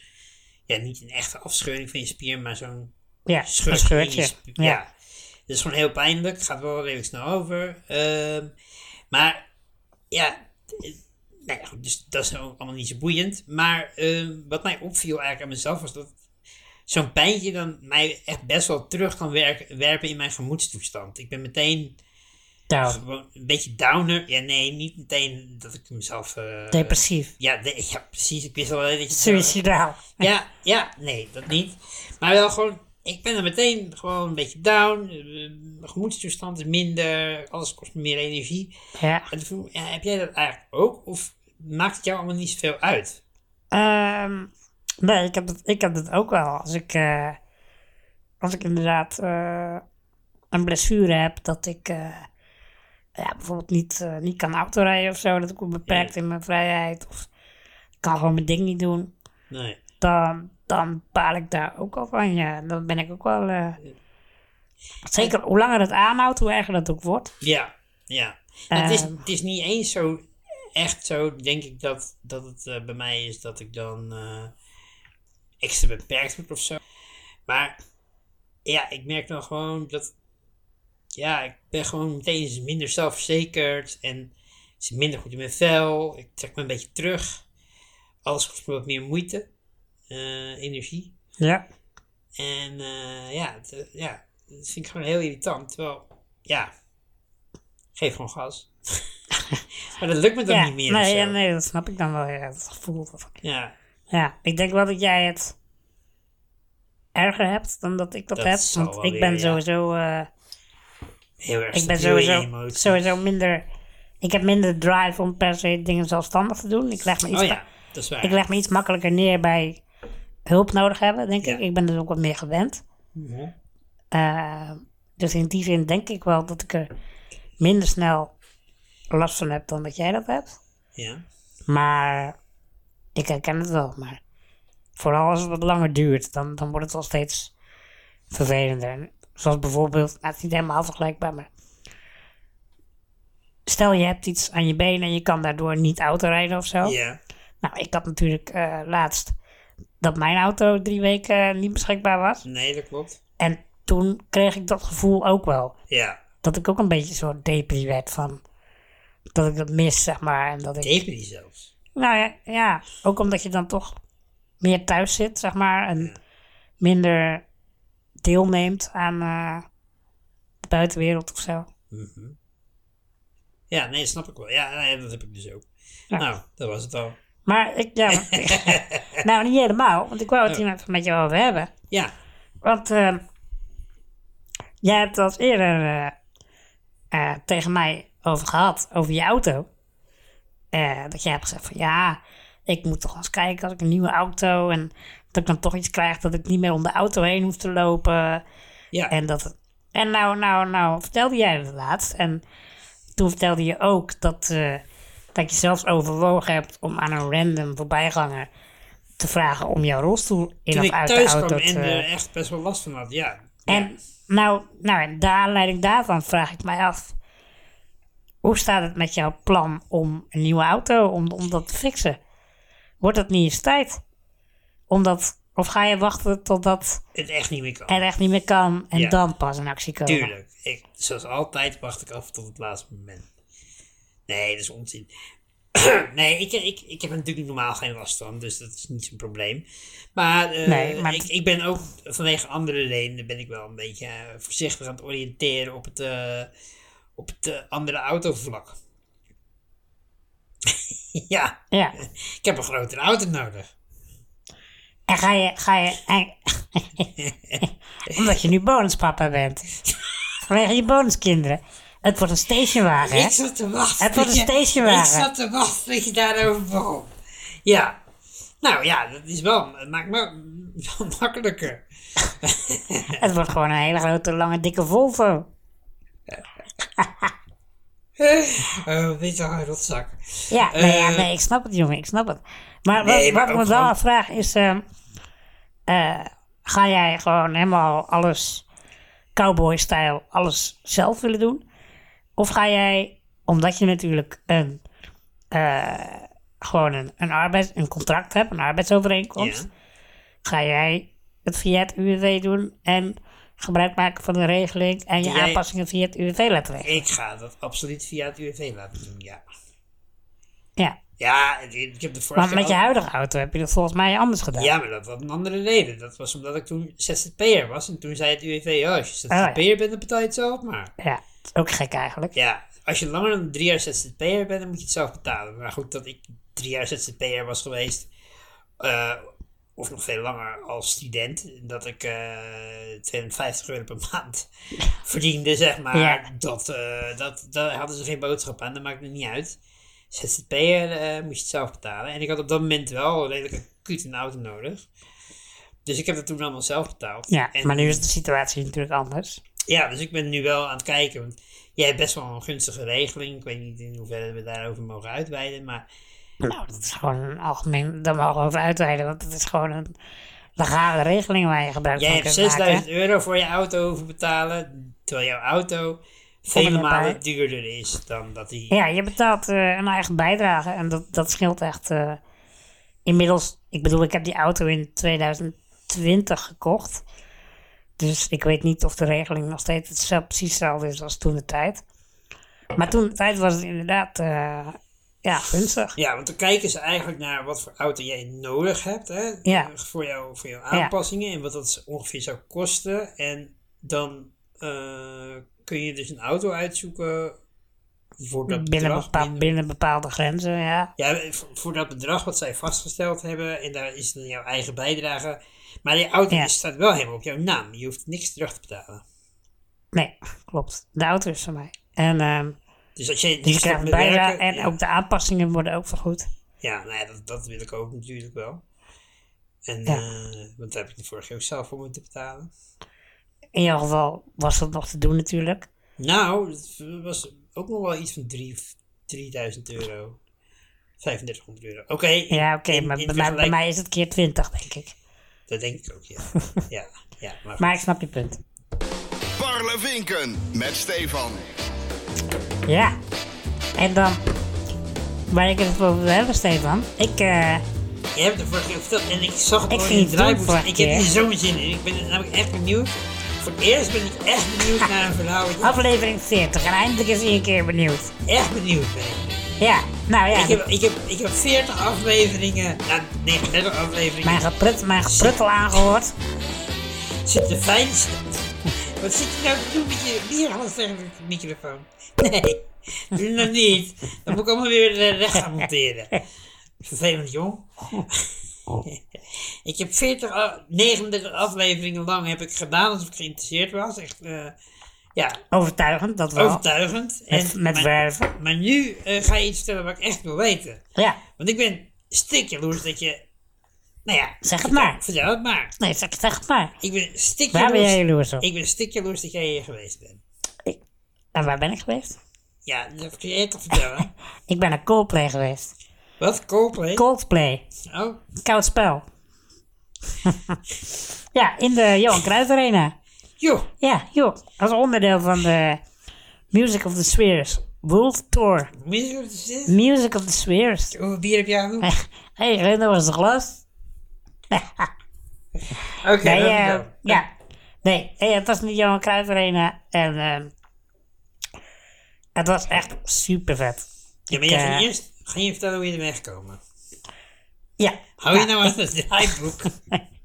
A: ja, niet een echte afscheuring van je spier, maar zo'n
B: Ja, een
A: scheurtje in je
B: scheurtje.
A: sp- Ja.
B: Ja.
A: Dat is gewoon heel pijnlijk. Gaat wel redelijk snel over. Ehm, maar ja, eh, nou ja, goed, dus dat is ook allemaal niet zo boeiend. Maar ehm, wat mij opviel eigenlijk aan mezelf was dat zo'n pijntje dan mij echt best wel terug kan werk- werpen in mijn gemoedstoestand. Ik ben meteen
B: Down.
A: gewoon een beetje downer. Ja, nee, niet meteen dat ik mezelf... eh,
B: Depressief.
A: Ja, de- ja, precies. Ik wist al wel dat je... het zou-
B: Suicidaal.
A: ja, ja, nee, dat niet. Maar wel gewoon, ik ben er meteen gewoon een beetje down. eh, Mijn gemoedstoestand is minder, alles kost me meer energie.
B: Ja.
A: En toen vroeg ik, ja, heb jij dat eigenlijk ook? Of maakt het jou allemaal niet zoveel uit?
B: Ehm, nee, ik heb, dat, ik heb dat ook wel. Als ik, eh, als ik inderdaad eh, een blessure heb, dat ik eh, ja, bijvoorbeeld niet, eh, niet kan autorijden of zo, dat ik me beperkt in mijn vrijheid of ik kan gewoon mijn ding niet doen,
A: Nee.
B: dan, dan baal ik daar ook al van. Ja, dan ben ik ook wel. eh, zeker hoe langer het aanhoudt, hoe erger dat ook wordt.
A: Ja, ja. Nou, het, is,
B: Ehm.
A: het is niet eens zo, echt zo, denk ik, dat, dat het eh, bij mij is dat ik dan eh, extra beperkt word of zo. Maar ja, ik merk dan gewoon dat, ja, ik ben gewoon meteen minder zelfverzekerd en zit minder goed in mijn vel. Ik trek me een beetje terug. Alles kost me wat meer moeite, eh, energie.
B: Ja.
A: En eh, ja, het, eh, ja, dat vind ik gewoon heel irritant. Terwijl, ja, geef gewoon gas. Maar dat lukt me dan
B: ja,
A: niet meer. of
B: nee,
A: zo.
B: ja, nee, dat snap ik dan wel. Ja, dat gevoel. van-
A: Ja,
B: Ja, ik denk wel dat jij het erger hebt dan dat ik dat,
A: Dat
B: heb.
A: zal
B: Want
A: wel
B: ik
A: weer,
B: ben
A: ja.
B: sowieso, eh,
A: heel erg
B: ik ben
A: stabiel in je
B: sowieso,
A: emoties.
B: sowieso minder. Ik heb minder drive om per se dingen zelfstandig te doen. Ik leg me iets,
A: Oh
B: ma-
A: ja, dat is waar.
B: ik leg me iets makkelijker neer bij hulp nodig hebben, denk
A: Ja.
B: ik. Ik ben dus ook wat meer gewend.
A: Mhm.
B: Eh, dus in die zin denk ik wel dat ik er minder snel last van heb dan dat jij dat hebt.
A: Ja.
B: Maar ik herken het wel. Maar vooral als het wat langer duurt, dan, dan wordt het wel steeds vervelender. En Zoals bijvoorbeeld, nou, het is niet helemaal vergelijkbaar, maar stel je hebt iets aan je been en je kan daardoor niet autorijden of zo.
A: ja.
B: Nou, ik had natuurlijk eh, laatst dat mijn auto drie weken eh, niet beschikbaar was.
A: Nee, dat klopt.
B: En toen kreeg ik dat gevoel ook wel.
A: Ja.
B: Dat ik ook een beetje zo'n depri werd van dat ik dat mis, zeg maar. En dat ik
A: Tegen die zelfs.
B: nou ja, ja, ook omdat je dan toch meer thuis zit, zeg maar. En minder deelneemt aan eh, de buitenwereld of zo.
A: Ja, nee, snap ik wel. Ja, nee, dat heb ik dus ook. Nou, dat was het al.
B: Maar ik, ja, maar- nou niet helemaal, want ik wou het hier even met jou over hebben.
A: Ja.
B: Want eh, jij hebt het al eerder eh, eh, tegen mij over gehad, over je auto. Eh, dat jij hebt gezegd van ja, ik moet toch eens kijken als ik een nieuwe auto en dat ik dan toch iets krijg dat ik niet meer om de auto heen hoef te lopen.
A: Ja.
B: En, dat, en nou, nou, nou, vertelde jij het laatst. En toen vertelde je ook dat, eh, dat je zelfs overwogen hebt om aan een random voorbijganger te vragen om jouw rolstoel in
A: Toen
B: of
A: ik
B: uit de
A: thuis
B: auto
A: kwam
B: te...
A: en er echt best wel last van had, ja.
B: En nou, nou, en de aanleiding daarvan vraag ik mij af. Hoe staat het met jouw plan om een nieuwe auto, om, om dat te fixen? Wordt dat niet eens tijd? Omdat, of ga je wachten totdat
A: Het echt niet meer kan.
B: er echt niet meer kan en
A: Ja.
B: dan pas een actie komen?
A: Tuurlijk. Ik, zoals altijd wacht ik af tot het laatste moment. Nee, dat is onzin. nee, ik, ik, ik heb er natuurlijk normaal geen last van, dus dat is niet zo'n probleem. Maar, eh,
B: Nee, maar
A: ik,
B: het-
A: ik ben ook vanwege andere redenen ben ik wel een beetje eh, voorzichtig aan het oriënteren op het, eh, op het eh, andere autovlak. ja,
B: Ja.
A: ik heb een grotere auto nodig.
B: En ga je, ga je, en- omdat je nu bonuspapa bent. Vanwege je bonuskinderen. Het wordt een stationwagen, hè?
A: Ik zat te wachten.
B: Het wordt
A: tot
B: een
A: je- Ik
B: stationwagen.
A: zat te wachten dat je daarover begon. Ja. Nou ja, dat is wel. Het maakt me wel makkelijker.
B: Het wordt gewoon een hele grote, lange, dikke Volvo.
A: Oh, weet je wel, rotzak.
B: Ja, nee, ja,
A: Eh,
B: nee, ik snap het, jongen, ik snap het. Maar wat,
A: Nee, maar
B: wat ik me
A: ook
B: wel
A: gewoon-
B: afvraag is: ehm, eh, ga jij gewoon helemaal alles cowboy-stijl, alles zelf willen doen? Of ga jij, omdat je natuurlijk een, eh, gewoon een, een, arbeids, een contract hebt, een arbeidsovereenkomst,
A: Ja.
B: ga jij het via het UWV doen en gebruik maken van de regeling en je
A: Jij-
B: aanpassingen via het UWV laten regelen?
A: Ik ga dat absoluut via het UWV laten doen, ja.
B: Ja,
A: Ja, ik- ik heb de vorige
B: want met je
A: keer al-
B: huidige auto heb je dat volgens mij anders gedaan.
A: Ja, maar dat had een andere reden. Dat was omdat ik toen ZZP'er was. En toen zei het UWV, oh, als je
B: ja.
A: ZZP'er bent, dan betaal je het zelf maar.
B: Ja, het is ook gek eigenlijk.
A: Ja, als je langer dan drie jaar ZZP'er bent, dan moet je het zelf betalen. Maar goed, dat ik drie jaar ZZP'er was geweest, eh, of nog veel langer als student, dat ik eh 250 euro per maand verdiende, zeg maar.
B: Ja.
A: Dat, eh, dat, daar hadden ze geen boodschap aan, dat maakt me niet uit. ZZP'er eh, moest je het zelf betalen. En ik had op dat moment wel redelijk acuut een auto nodig. Dus ik heb dat toen allemaal zelf betaald.
B: Ja,
A: En-
B: maar nu is de situatie natuurlijk anders.
A: ja, dus ik ben nu wel aan het kijken. Want jij hebt best wel een gunstige regeling. Ik weet niet in hoeverre we daarover mogen uitweiden. Maar
B: Nou, dat is gewoon een algemeen, daar mogen we over uitweiden, want het is gewoon een legale regeling waar je gebruik
A: jij
B: van
A: hebt
B: kunt maken.
A: 6000 euro voor je auto hoeven betalen. Terwijl jouw auto
B: Kom
A: vele
B: er maar
A: malen
B: bij.
A: duurder is dan dat die.
B: Ja, je betaalt eh, een eigen bijdrage en dat, dat scheelt echt. eh, inmiddels, ik bedoel, ik heb die auto in 2020 gekocht. Dus ik weet niet of de regeling nog steeds hetzelfde, precies hetzelfde is als toen de tijd. Maar toen de tijd was het inderdaad eh, ja, gunstig.
A: Ja, want dan kijken ze eigenlijk naar wat voor auto jij nodig hebt hè,
B: Ja.
A: voor, jou, voor jouw aanpassingen en wat dat ze ongeveer zou kosten. En dan eh, kun je dus een auto uitzoeken Voor dat
B: binnen,
A: bedrag,
B: bepaal-
A: binnen-
B: binnen bepaalde grenzen, ja.
A: Ja, voor- voor dat bedrag wat zij vastgesteld hebben, en daar is dan jouw eigen bijdrage. Maar die auto
B: Ja.
A: staat wel helemaal op jouw naam. Je hoeft niks terug te betalen.
B: Nee, klopt. De auto is van mij. En ehm,
A: Dus als je
B: dus je
A: stopt
B: krijgt
A: met
B: bijna
A: werken-
B: en
A: ja.
B: ook de aanpassingen worden ook vergoed.
A: Ja, nou ja, dat, dat wil ik ook natuurlijk wel. En,
B: Ja.
A: eh, want daar heb ik de vorige keer ook zelf voor moeten betalen.
B: In jouw geval was dat nog te doen natuurlijk.
A: Nou, het was ook nog wel iets van drie- 3000 euro. 3500 euro. Oké,
B: Ja, oké,
A: in-
B: maar
A: in
B: bij, mij, bij
A: vergelijk-
B: mij is het keer 20, denk ik.
A: dat denk ik ook, ja. ja, ja maar,
B: Maar ik snap je punt.
D: Parlevinken met Stefan.
B: Ja. En dan, waar ik het over wil hebben, Stefan. Ik, eh,
A: je hebt het de vorige keer verteld en ik zag het
B: Ik
A: al in het
B: ging het doen
A: draaiboek.
B: vorige
A: Ik heb hier
B: keer.
A: zo'n zin in. Ik ben namelijk echt benieuwd. Voor het eerst ben ik echt benieuwd naar een verhaal. waar Ik
B: aflevering 40. En eindelijk is hij een keer benieuwd.
A: echt benieuwd ben.
B: Ja, nou ja.
A: Ik heb, ik, heb, ik heb 40 afleveringen, nou, nee, 30 afleveringen
B: Mijn geprut, mijn geprut al aangehoord.
A: Zit de fijnste. Wat zit je nou te doen met je bierglas tegen de microfoon? Nee, doe nog niet. Dan moet ik allemaal weer eh, recht gaan monteren. Vervelend, jong. ik heb 40, a- 39 afleveringen lang heb ik gedaan alsof ik geïnteresseerd was. Echt, eh, ja,
B: Overtuigend, dat wel.
A: overtuigend.
B: Met, met
A: maar,
B: werven.
A: maar nu eh, ga je iets vertellen wat ik echt wil weten.
B: Ja,
A: Want ik ben stikjaloers dat je... Nou ja,
B: zeg het maar.
A: vertel het maar.
B: Nee, zeg, zeg het maar.
A: Ik ben stikjaloers.
B: Waar ben jij jaloers op?
A: Ik ben stikjaloers dat jij hier geweest bent.
B: En waar ben ik geweest?
A: Ja, dat kun jij toch vertellen?
B: Ik ben naar Coldplay geweest.
A: Wat? Coldplay?
B: Coldplay.
A: oh,
B: Koud spel. ja, in de Johan Cruijff Arena.
A: joh.
B: Ja, joh. Als onderdeel van de Music of the Spheres World Tour.
A: Moet je wat zitten?
B: Music of the Spheres.
A: Hoeveel bier heb je aan? Oké,
B: Hé, hey, dat was de glas. Nee,
A: dat
B: eh,
A: wel.
B: ja. Nee, eh, het was niet Johan Cruijff Arena. En ehm, het was echt super vet.
A: Ja, maar jij
B: ik,
A: ging
B: eh,
A: eerst ging je vertellen hoe je er bent gekomen.
B: Ja,
A: Hou je nou aan het draaiboek?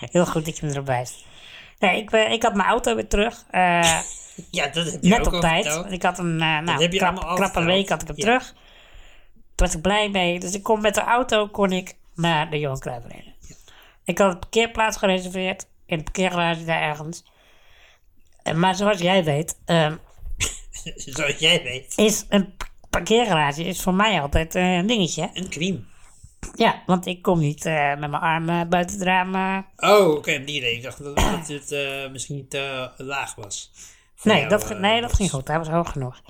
B: heel goed dat je me erop wijst. Nee, ik, ben- ik had mijn auto weer terug. eh,
A: ja, dat heb je
B: net
A: ook al
B: op tijd.
A: verteld.
B: Want ik had een eh, nou,
A: heb je
B: krap-
A: allemaal al
B: krappe
A: verteld.
B: week had ik hem
A: Ja.
B: terug. Daar was ik blij mee. Dus ik kon met de auto kon ik naar de Johan Cruijff Arena. Ik had een parkeerplaats gereserveerd. In de parkeergarage daar ergens. Eh, Maar zoals jij weet... ehm,
A: Zoals jij weet.
B: is een p- parkeergarage is voor mij altijd eh, een dingetje.
A: Een cream.
B: Ja, want ik kom niet eh, met mijn armen buiten het raam. eh.
A: Oh, oké, om die reden. Ik dacht dat dat het eh, misschien te laag was. Voor
B: Nee,
A: jou,
B: dat, ge-
A: eh,
B: nee, dat ging goed. Hij was hoog genoeg.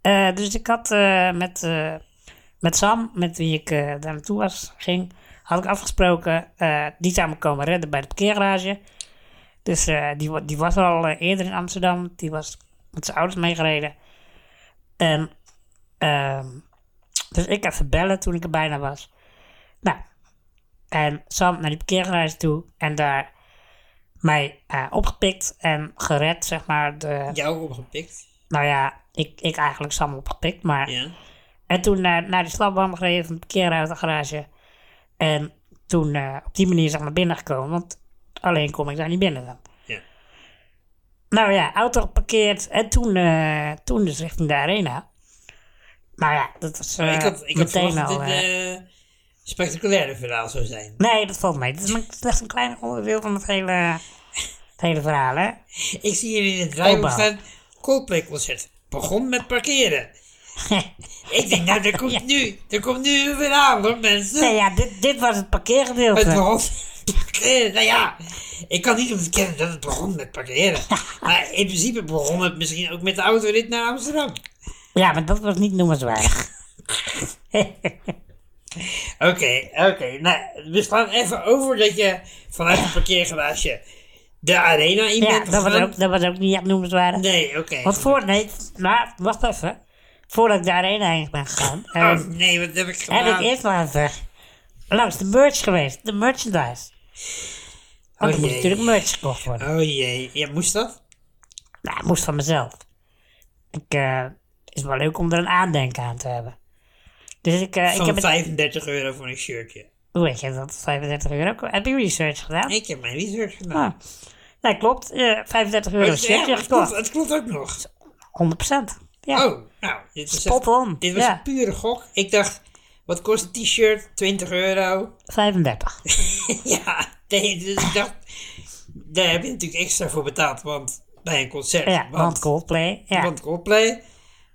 B: Eh, dus ik had eh, met, eh, met Sam, met wie ik eh, daar naartoe was, ging, had ik afgesproken, eh, die zou me komen redden bij de parkeergarage. Dus eh, die, wa- die was al eh, eerder in Amsterdam. Die was met zijn ouders meegereden. En, ehm, dus ik even bellen toen ik er bijna was. Nou, en Sam naar die parkeergarage toe en daar mij eh, opgepikt en gered, zeg maar. De,
A: Jou opgepikt.
B: Nou ja, ik, ik eigenlijk Sam opgepikt, maar...
A: Ja.
B: En toen naar, naar die slapband gereden van de parkeergarage. En toen eh, op die manier zeg maar binnengekomen, want alleen kom ik daar niet binnen dan.
A: Ja.
B: Nou ja, auto geparkeerd en toen, eh, toen dus richting de arena. Nou ja, dat was eh
A: ik had, ik had
B: meteen
A: verwacht dat
B: al...
A: dit
B: eh,
A: eh spectaculaire verhaal zou zijn.
B: Nee, dat valt mee. Het is maar slechts een klein onderdeel van het hele, het hele verhaal, hè?
A: Ik zie hier in het draaiboek
B: Opbouw.
A: staan, Coldplay concert. Begon met parkeren. Ik denk, nou, er komt nu, er komt nu een verhaal hoor, mensen.
B: Nee, ja, dit, dit was het parkeergedeelte.
A: Het begon met parkeren. Nou ja, ik kan niet ontkennen dat het begon met parkeren. Maar in principe begon het misschien ook met de autorit naar Amsterdam.
B: Ja, maar dat was niet noemenswaardig.
A: Oké, oké. Nou, we slaan even over dat je vanuit het parkeergarage de arena in
B: ja,
A: bent
B: dat was,
A: gegaan.
B: ook, dat was ook niet echt noemenswaardig.
A: Nee, oké.
B: Want voor, nee, maar wacht even. Voordat ik daarheen heen ben gegaan,
A: Oh,
B: ehm,
A: nee, wat heb ik gedaan?
B: heb ik eerst nog even langs de merch geweest, de merchandise. Want
A: Oh
B: er moest
A: jee.
B: natuurlijk merch gekocht worden.
A: Oh jee, ja, moest dat?
B: Nou, het moest van mezelf. Ik, eh, is wel leuk om er een aandenken aan te hebben. Dus ik, eh, ik
A: Van
B: heb het,
A: 35 euro voor een shirtje.
B: hoe weet je dat, 35 euro. Heb je research gedaan?
A: Ik heb mijn research gedaan.
B: Ah. Nee, klopt. eh, 35 euro
A: Het- ja,
B: shirtje
A: het, klopt,
B: gekocht. 100%.
A: het klopt ook nog.
B: Ja.
A: Oh, nou, dit was,
B: Spot
A: echt-
B: on,
A: Dit was
B: ja.
A: een pure gok. Ik dacht, wat kost een t-shirt? 20 euro.
B: 35.
A: ja, nee, dus ik dacht, daar heb je natuurlijk extra voor betaald, want bij een concert.
B: Ja, want Coldplay. Ja.
A: want Coldplay.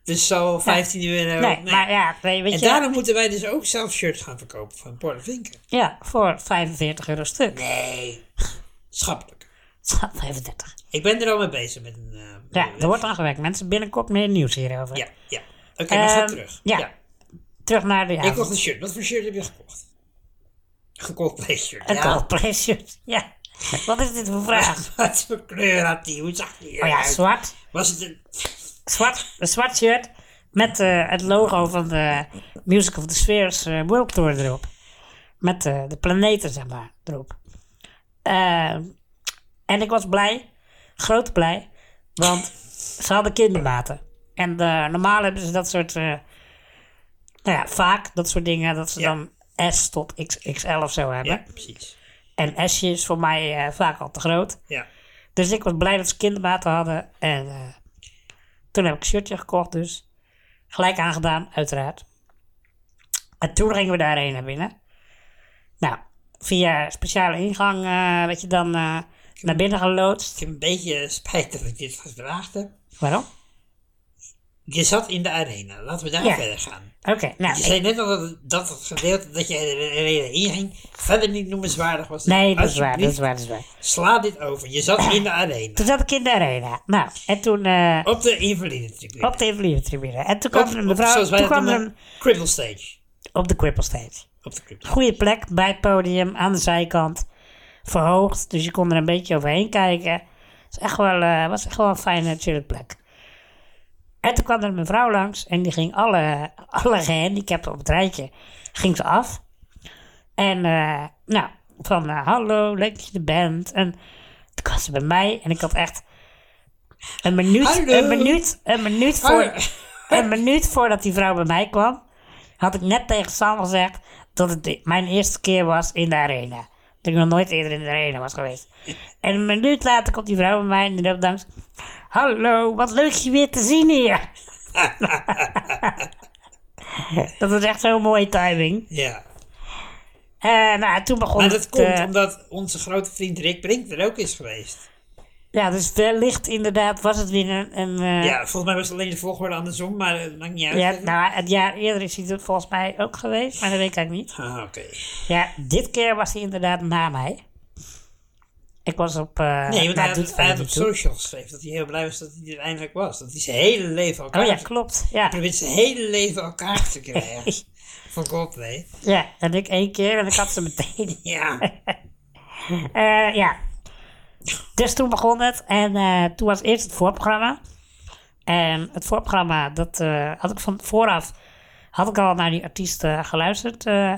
A: Dus zo 15 euro.
B: nee,
A: nee.
B: maar ja, nee, weet
A: en
B: je,
A: daarom moeten wij dus ook zelf shirts gaan verkopen van Porter Vinken.
B: ja, voor 45 euro stuk.
A: Nee. Schappelijk.
B: Schat, 35.
A: Ik ben er al mee bezig met een... eh,
B: Ja, er wordt aan gewerkt. Mensen, binnenkort meer nieuws hierover.
A: Ja, ja. Oké, maar ga
B: Ehm,
A: terug.
B: ja. Terug naar de... Ja,
A: Ik kocht een shirt. Wat voor shirt heb je gekocht? Gekocht shirt.
B: een
A: ja.
B: Coldplay shirt. Ja. Wat is dit voor vraag?
A: Wat voor kleur had die? Hoe zag die
B: Oh ja,
A: eruit?
B: zwart.
A: Was het een...
B: zwart, een zwart shirt met eh, het logo van de Music of the Spheres eh, World Tour erop. Met eh, de planeten, zeg maar, erop. Eh, en ik was blij, groot blij, want ze hadden kindermaten. En eh, normaal hebben ze dat soort, eh, nou ja, vaak dat soort dingen, dat ze
A: Ja.
B: dan S tot XXL of zo hebben.
A: Ja, precies.
B: En S'je is voor mij eh, vaak al te groot.
A: Ja.
B: Dus ik was blij dat ze kindermaten hadden. En eh, toen heb ik een shirtje gekocht dus. Gelijk aangedaan, uiteraard. En toen gingen we daarheen naar binnen. Nou, via speciale ingang eh werd je dan eh, naar binnen
A: Ik
B: geloodst.
A: heb een beetje spijt dat ik dit gevraagd heb.
B: Waarom?
A: Je zat in de arena. Laten we daar
B: Ja.
A: verder gaan.
B: Oké, nou...
A: Je
B: ik-
A: zei net al dat, dat het gedeelte dat je de arena inging verder niet noemenswaardig was.
B: nee, dat is waar, dat
A: Alsjeblieft,
B: is waar, dat is waar.
A: Sla dit over. Je zat in de arena.
B: Toen zat ik in de arena. Nou, en toen... eh,
A: Op de invalide tribune.
B: op de invalide-tribune. En toen kwam er een mevrouw...
A: Zoals wij
B: Toen
A: dat
B: kwam er
A: noemen,
B: een...
A: Cripple stage.
B: Op de cripple stage.
A: Op de cripple.
B: goede plek bij het podium aan de zijkant. Verhoogd, dus je kon er een beetje overheen kijken. Het is echt wel, eh, was echt wel een fijne, chille plek. En toen kwam er een mevrouw langs en die ging alle, alle gehandicapten op het rijtje ging ze af. En eh, nou, van eh, hallo, leuk dat je er bent. En toen kwam ze bij mij en ik had echt een minuut,
A: Hallo.
B: een minuut, een minuut voor,
A: Hallo.
B: een minuut voordat die vrouw bij mij kwam, had ik net tegen Sam gezegd dat het de- mijn eerste keer was in de arena. Dat ik nog nooit eerder in de arena was geweest. En een minuut later komt die vrouw bij mij en die loopt langs. Hallo, wat leuk je weer te zien hier. dat was echt zo'n mooie timing.
A: Ja.
B: Eh, nou, toen begon
A: Maar dat
B: het,
A: komt
B: eh,
A: omdat onze grote vriend Rick Brink er ook is geweest.
B: ja, dus wellicht inderdaad was het weer een... een eh,
A: Ja, volgens mij was het alleen de volgorde andersom, maar het maakt niet uit.
B: ja, nou, het jaar eerder is hij er volgens mij ook geweest, maar dat weet ik eigenlijk niet.
A: Ah, oké.
B: Ja, dit keer was hij inderdaad na mij. Ik was op... eh,
A: Nee, want
B: nou,
A: hij, had,
B: doet
A: hij
B: verder
A: had op
B: niet toe.
A: social geschreven dat hij heel blij was dat hij er eindelijk was. Dat hij zijn hele leven elkaar...
B: Oh ja, klopt. Ja.
A: probeert zijn hele leven elkaar te krijgen. Van Coldplay.
B: ja, en ik één keer en ik had ze meteen.
A: Ja.
B: Eh, ja. Dus toen begon het. En eh, toen was eerst het voorprogramma. En het voorprogramma, dat eh, had ik van vooraf... had ik al naar die artiest eh, geluisterd eh,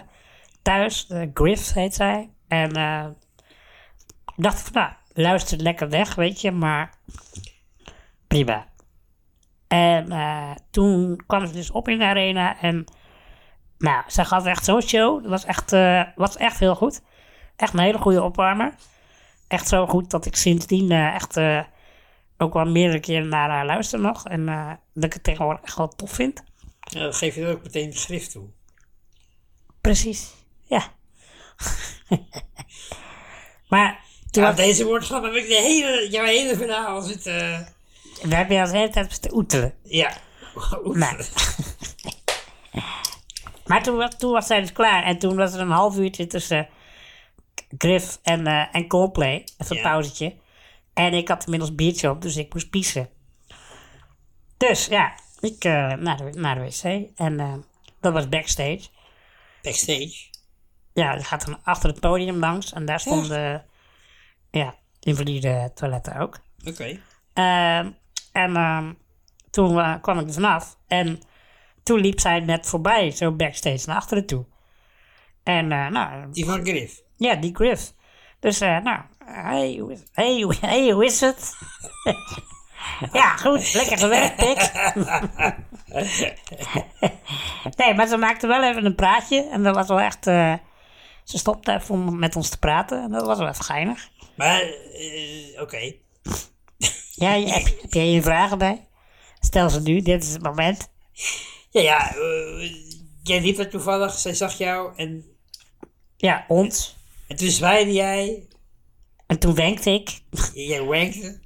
B: thuis. Eh, Griff heet zij. En eh, ik dacht van, nou, luister lekker weg, weet je. Maar prima. En eh, toen kwam ze dus op in de arena. En nou, ze gaf echt zo'n show. Dat was echt, eh, was echt heel goed echt een hele goede opwarmer. Echt zo goed dat ik sindsdien eh, echt eh, ook wel meerdere keren naar haar luister nog. En eh, dat ik het tegenwoordig echt wel tof vind.
A: Nou, dat geef je er ook meteen het grif toe.
B: Precies, ja. maar toen
A: ja,
B: had-
A: deze woordgrap heb ik de hele, jouw hele verhaal zitten...
B: daar heb je al de hele tijd te oetelen.
A: Ja. Oeh.
B: Nee. Maar toen was, toen was zij dus klaar. En toen was er een half uurtje tussen Griff en, eh en Coldplay. Even een
A: Ja.
B: pauzetje. En ik had inmiddels biertje op, dus ik moest piezen. Dus ja, ik eh, naar, de, naar de wc. En eh, dat was backstage.
A: Backstage.
B: Ja, je gaat dan achter het podium langs. En daar stonden ja, invalide toiletten ook.
A: Oké.
B: Ehm, en ehm, toen eh, kwam ik er vanaf. En toen liep zij net voorbij, zo backstage naar achteren toe. En eh, nou,
A: Die van Griff.
B: ja, die Griff. Dus eh, nou, hey, hoe is- hey, hoe- hey, hoe is het? ja, goed, lekker gewerkt, Pik. nee, maar ze maakte wel even een praatje. En dat was wel echt... eh, ze stopte even om met ons te praten. En dat was wel even geinig.
A: Maar, eh, oké.
B: Ja, je- heb, heb jij hier vragen bij? Stel ze nu, dit is het moment.
A: Ja, ja. eh, jij liep daar toevallig, zij zag jou en,
B: Ja, ons.
A: en toen zwaaide jij.
B: En toen wenkte ik.
A: Jij wankte.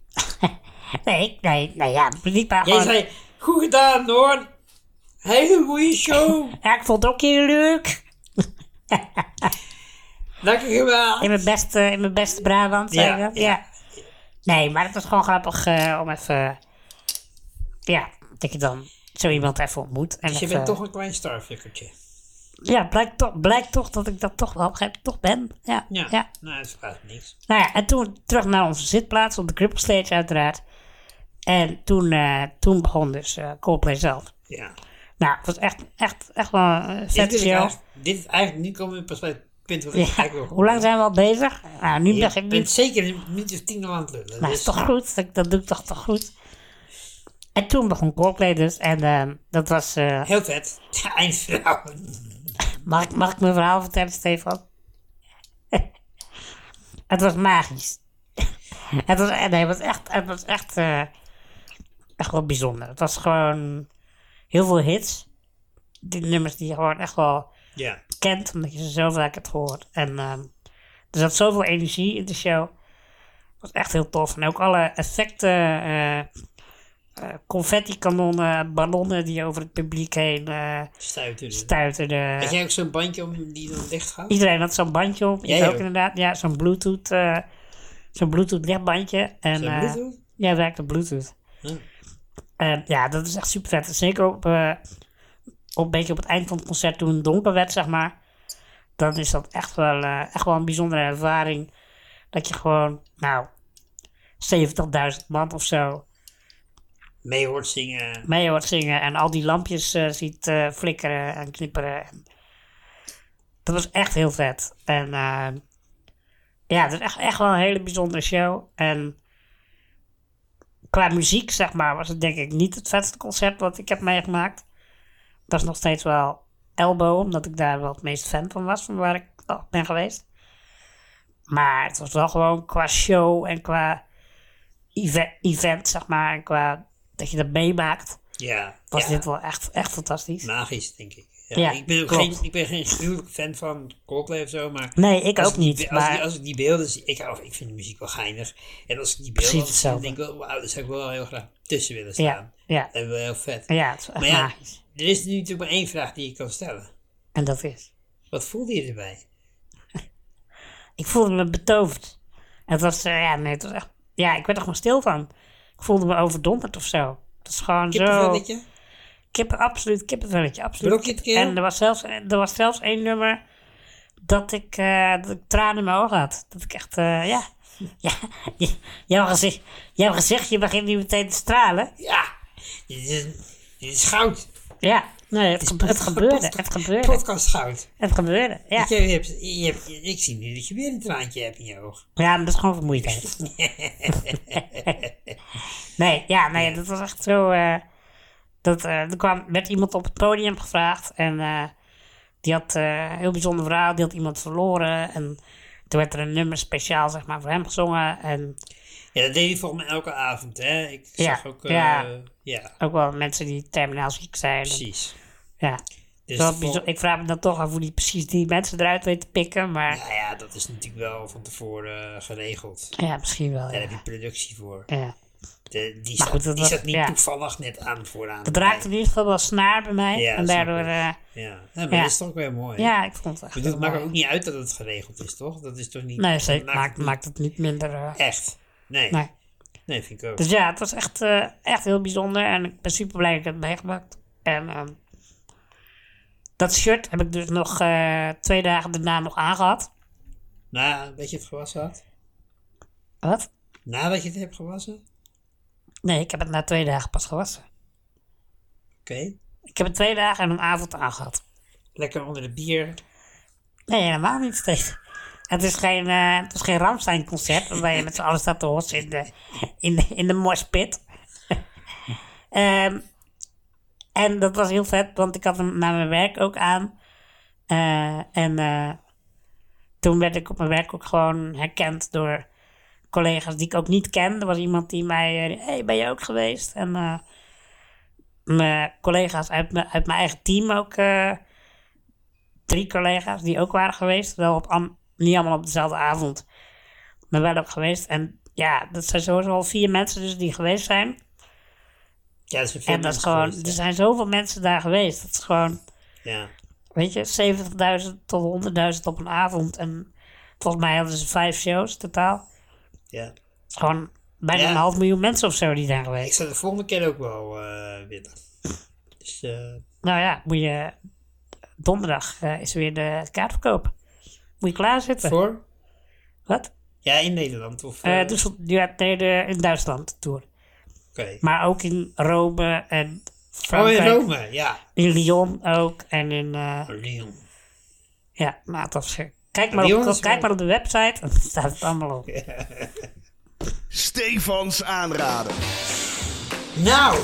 B: Nee, ik- nee, nou ja, niet maar
A: Jij
B: gewoon...
A: zei, goed gedaan hoor. Hele goede show.
B: Ja, ik vond het ook heel leuk.
A: Lekker gedaan.
B: In mijn beste, in mijn beste Brabant,
A: Ja,
B: zei je dat?
A: ja.
B: Ja. Nee, maar het was gewoon grappig eh, om even... Ja, dat je dan zo iemand even ontmoet. En
A: Dus je
B: even-
A: bent toch een klein starfuckertje.
B: Ja, blijkt toch, blijkt toch dat ik dat toch wel op een gegeven moment toch ben. Ja,
A: Ja.
B: ja.
A: Nou, dat is eigenlijk niks.
B: Nou ja, en toen terug naar onze zitplaats op de Cripple Stage uiteraard. En toen, eh, toen begon dus eh, Coldplay zelf.
A: Ja.
B: Nou, het was echt, echt, echt wel eh, een
A: Dit
B: vette
A: is,
B: show.
A: eigenlijk, dit is eigenlijk nu komen we pas bij het punt waar ik
B: Ja,
A: eigenlijk wil.
B: hoe lang zijn we al bezig? Nou, nu
A: je?
B: begin ik
A: bent
B: niet.
A: zeker een minuut of tien aan het lullen.
B: Nou,
A: dus-
B: is toch goed? Dat, dat doe ik toch toch goed? En toen begon Coldplay dus. En eh, dat was... eh,
A: Heel vet. Eindverhaal.
B: Mag ik, mag ik mijn verhaal vertellen, Stefan? het was magisch. het, was, eh, nee, het was echt, het was echt, eh, echt wel bijzonder. Het was gewoon heel veel hits. Die nummers die je gewoon echt wel
A: Ja.
B: kent, omdat je ze zo vaak hebt gehoord. En ehm, er zat zoveel energie in de show. Het was echt heel tof. En ook alle effecten, eh, eh, confetti-kanonnen, ballonnen die over het publiek heen eh
A: Stuiten. dus.
B: stuiterden.
A: Had jij ook zo'n bandje om die dan dicht gaat?
B: Iedereen had zo'n bandje op.
A: Jij
B: Ik ook
A: ook?
B: inderdaad. Ja, zo'n Bluetooth, eh zo'n Bluetooth lichtbandje. En,
A: Zo'n
B: eh,
A: Bluetooth? Hm.
B: ja, werkte Bluetooth.
A: Ja.
B: En ja, dat is echt super vet. Zeker op, eh, op een beetje op het eind van het concert toen het donker werd, zeg maar. Dan is dat echt wel, eh, echt wel een bijzondere ervaring. Dat je gewoon, nou, 70.000 man of zo
A: Mee hoort zingen.
B: mee hoort zingen. En al die lampjes eh, ziet eh, flikkeren en knipperen. En dat was echt heel vet. En eh, ja, het is echt, echt wel een hele bijzondere show. En qua muziek, zeg maar, was het denk ik niet het vetste concert wat ik heb meegemaakt. Dat is nog steeds wel Elbow, omdat ik daar wel het meest fan van was, van waar ik al ben geweest. Maar het was wel gewoon qua show en qua eve- event, zeg maar, en qua dat je dat meemaakt
A: Ja.
B: was
A: ja.
B: dit wel echt, echt fantastisch.
A: Magisch, denk ik. Ja,
B: Ja,
A: ik ben ook
B: klopt.
A: geen, ik ben geen gruwelijke fan van Coldplay of zo, maar...
B: nee, ik
A: als
B: ook
A: die
B: niet.
A: be- als,
B: maar
A: die, als ik die beelden zie, ik, hou, ik vind de muziek wel geinig. En als ik die beelden dan
B: Precies
A: zie, dan
B: hetzelfde.
A: denk ik wel, wauw, daar zou ik wel heel graag tussen willen
B: ja,
A: staan.
B: ja,
A: Dat is wel heel vet.
B: ja, het is echt
A: Maar ja,
B: magisch.
A: er is nu natuurlijk maar één vraag die je kan stellen.
B: En dat is.
A: Wat voelde je erbij?
B: Ik voelde me betoverd. Het was, eh, ja, nee, het was echt, ja, ik werd er gewoon stil van. Ik voelde me overdonderd of zo. Dat is gewoon zo.
A: Kippenvelletje?
B: Kippen, absoluut kippenvelletje, absoluut.
A: Brokjetkeel?
B: En er was, zelfs, er was zelfs één nummer dat ik, eh, dat ik tranen in mijn ogen had. Dat ik echt, eh, ja. ja j- jouw, gezicht, jouw gezichtje begint nu meteen te stralen.
A: Ja! Dit is, dit is goud.
B: Ja, nee, het, gebe- het gebeurde.
A: podcast-
B: Het gebeurde.
A: Podcast goud.
B: Het gebeurde, ja.
A: Je hebt, je hebt, ik zie nu dat je weer een traantje hebt in je oog.
B: Ja, maar dat is gewoon vermoeidheid. nee, ja, nee, dat was echt zo. eh, dat, eh, er kwam, werd iemand op het podium gevraagd en eh, die had eh, een heel bijzonder verhaal. Die had iemand verloren en toen werd er een nummer speciaal zeg maar, voor hem gezongen. En
A: Ja, dat deed hij volgens mij elke avond, hè? Ik
B: Ja,
A: zag ook... eh, ja.
B: ja. ook wel mensen die terminaal ziek zijn.
A: precies.
B: Ja.
A: Dus
B: Wel
A: de vol-
B: bijzo- Ik vraag me dan toch af hoe die precies die mensen eruit weet te pikken, maar
A: Nou ja, dat is natuurlijk wel van tevoren eh, geregeld.
B: ja, misschien wel.
A: Daar
B: Ja.
A: heb je productie voor.
B: Ja.
A: De, die zat,
B: Maar goed, dat
A: die
B: was-
A: zat niet
B: ja.
A: toevallig net aan vooraan.
B: Dat raakte in ieder geval wel snaar bij mij
A: Ja,
B: en
A: snap
B: daardoor...
A: ik.
B: eh,
A: Ja, Ja, maar
B: Ja.
A: dat is toch weer mooi.
B: Ja, ik vond het
A: Ik
B: echt.
A: bedoel, het
B: heel
A: maakt ook
B: mooi.
A: niet uit dat het geregeld is, toch? Dat is toch niet...
B: Nee,
A: dat
B: zeker. Maakt,
A: niet
B: maakt het niet minder. eh,
A: Echt. Nee. nee.
B: nee.
A: vind ik ook.
B: Dus ja, het was echt, eh, echt heel bijzonder en ik ben super blij dat ik het heb meegemaakt. En ehm, dat shirt heb ik dus nog eh, twee dagen daarna nog aangehad.
A: Nadat je het gewassen had?
B: Wat?
A: Nadat je het hebt gewassen?
B: Nee, ik heb het na twee dagen pas gewassen.
A: Oké.
B: Ik heb het twee dagen en een avond aangehad.
A: Lekker onder de bier.
B: Nee, helemaal niet steeds. Het is geen, eh het is geen Ramstein-concert, waarbij je met z'n allen staat te hossen in de, in de, in de morspit. Ehm, en dat was heel vet, want ik had hem naar mijn werk ook aan. Eh, en eh, toen werd ik op mijn werk ook gewoon herkend door collega's die ik ook niet ken. Er was iemand die mij... eh, hey, ben je ook geweest? En eh, mijn collega's uit, mijn- uit mijn eigen team ook. eh, drie collega's die ook waren geweest. Wel op an- niet allemaal op dezelfde avond. Maar wel ook geweest. En ja, dat zijn sowieso al vier mensen dus die geweest zijn.
A: Ja, dat is veel
B: en dat is
A: mensen
B: gewoon, dus-
A: geweest, hè.
B: er zijn zoveel mensen daar geweest. Dat is gewoon,
A: Ja.
B: weet je, 70.000 tot 100.000 op een avond. En volgens mij hadden ze vijf shows totaal. Het
A: ja.
B: is gewoon bijna
A: Ja.
B: een half miljoen mensen of zo die zijn
A: Ik
B: geweest.
A: zou de volgende keer ook wel eh willen. Dus eh,
B: Nou ja, moet je, donderdag eh, is weer de kaartverkoop. Moet je klaarzitten.
A: voor?
B: Wat?
A: Ja, in Nederland. Of,
B: Eh
A: eh,
B: dus, ja, nee, de, in Duitsland tour.
A: Oké.
B: Maar ook in Rome en
A: Oh,
B: Frankrijk.
A: in Rome, ja.
B: in Lyon ook. En in, eh,
A: Lyon.
B: ja, nou, dat is... Kijk maar,
A: Lyon
B: op,
A: is
B: kijk
A: wel-
B: maar op de website, dan staat het allemaal op.
D: Stefans aanraden.
A: Nou,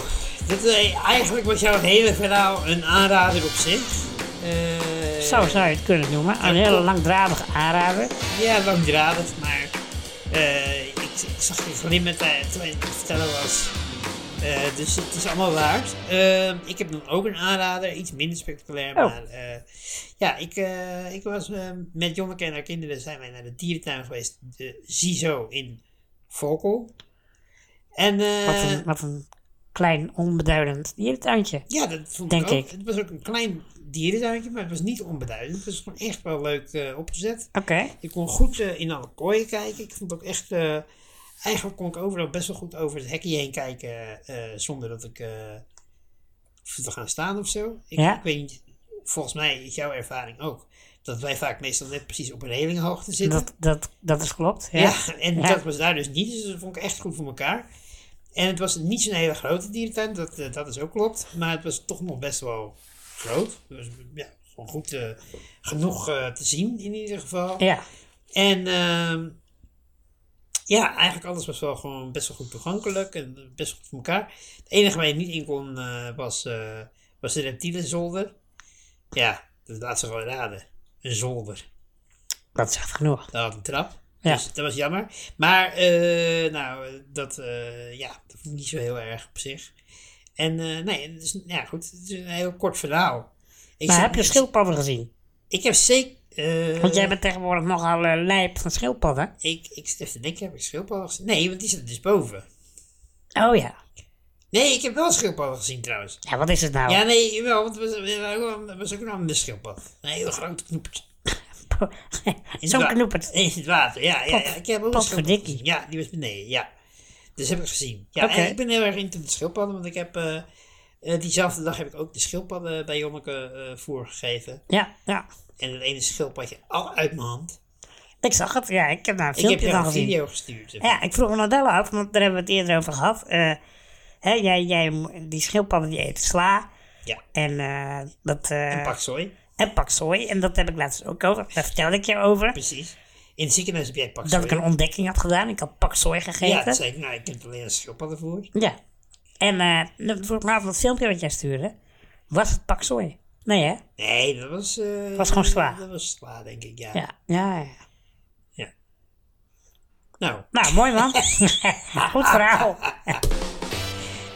A: dit, eh, eigenlijk was jouw hele verhaal een aanrader op zich. Eh,
B: Zo zou je het kunnen noemen. Een
A: Ja,
B: hele
A: klopt.
B: langdradige aanrader.
A: Ja, langdradig, maar eh, ik, ik zag je glimmen te- terwijl je eh, het vertellen was. Eh, dus het is allemaal waard. Ehm, ik heb dan ook een aanrader, iets minder spectaculair,
B: Oh.
A: maar eh, ja, ik, eh, ik was eh, met Jonneke en haar kinderen zijn wij naar de dierentuin geweest, de Zizo in Volkel. En eh,
B: Wat een, wat een klein, onbeduidend dierentuintje.
A: ja, dat vond
B: denk
A: ik ook.
B: ik.
A: Het was ook een klein dierentuintje, maar het was niet onbeduidend. Dus Het was gewoon echt wel leuk eh, opgezet.
B: Oké.
A: Ik kon goed eh, in alle kooien kijken. Ik vond ook echt. eh, eigenlijk kon ik overal best wel goed over het hekje heen kijken. eh, zonder dat ik. eh hoefde te gaan staan of zo. Ik,
B: Ja.
A: ik weet niet. Volgens mij is jouw ervaring ook. Dat wij vaak meestal net precies op een relinghoogte zitten.
B: Dat, dat, dat is klopt. Ja.
A: ja. en
B: Ja.
A: dat was daar dus niet. Dus dat vond ik echt goed voor elkaar. En het was niet zo'n hele grote dierentuin. Dat, eh, dat is ook klopt. Maar het was toch nog best wel groot. Dus ja, gewoon goed eh, genoeg eh, te zien in ieder geval.
B: Ja.
A: En ehm, ja, eigenlijk alles was wel gewoon best wel goed toegankelijk en best goed voor elkaar. Het enige waar je niet in kon eh, was, eh, was de reptielenzolder. Ja, dat laat ze gewoon raden. Een zolder.
B: Dat is echt genoeg.
A: Daar had een trap.
B: Ja.
A: Dus dat was jammer. Maar, eh, nou, dat, eh, ja, dat vond ik niet zo heel erg op zich. En, eh, nee, dus, ja, goed. Het is een heel kort verhaal. Ik
B: Maar
A: zat-
B: heb je schildpadden gezien?
A: Ik heb zeker... eh,
B: Want jij bent tegenwoordig nogal eh, lijp van schildpadden.
A: Ik, ik zit even te denken, heb ik schildpadden gezien? Nee, want die zitten dus boven.
B: Oh ja.
A: Nee, ik heb wel schildpadden gezien trouwens.
B: Ja, wat is het nou?
A: Ja, nee, wel, want er was, er was ook een ander schildpad. Een hele grote knoepert. In het
B: Zo'n
A: wa-
B: knoepert.
A: In het water, ja. ja, ja. Ik heb ook een schildpad
B: potverdikkie.
A: gezien. Ja, die was beneden, ja. Dus heb ik gezien. Ja,
B: Oké.
A: en ik ben heel erg into de schildpadden, want ik heb... eh, eh, diezelfde dag heb ik ook de schildpadden bij Jonneke eh, voorgegeven.
B: Ja, ja.
A: En het ene schildpadje al uit mijn hand.
B: Ik zag het. Ja, ik heb daar een
A: Ik heb
B: filmpje
A: jou
B: van
A: een
B: gezien.
A: video gestuurd.
B: Ja, ik vroeg me Nadella af, want daar hebben we het eerder over gehad. Eh, hè, jij, jij, mo- die schildpadden die eten sla.
A: Ja.
B: En, eh dat, eh,
A: Een pak zooi,
B: en paksoi. En dat heb ik laatst ook over. Daar vertelde ik je over.
A: precies. In het ziekenhuis heb jij pak
B: Dat
A: zooi.
B: ik een ontdekking had gedaan. Ik had paksoi gegeten.
A: Ja, dat zei ik, nou, ik heb alleen een schildpadden voor.
B: Ja. En eh volgens mij van dat filmpje wat jij stuurde, was het paksoi. Nee hè?
A: Nee, dat was... eh,
B: Was gewoon sla.
A: Dat was sla, denk ik, ja.
B: Ja. Ja, ja.
A: Nou,
B: Nou, mooi man. Goed verhaal.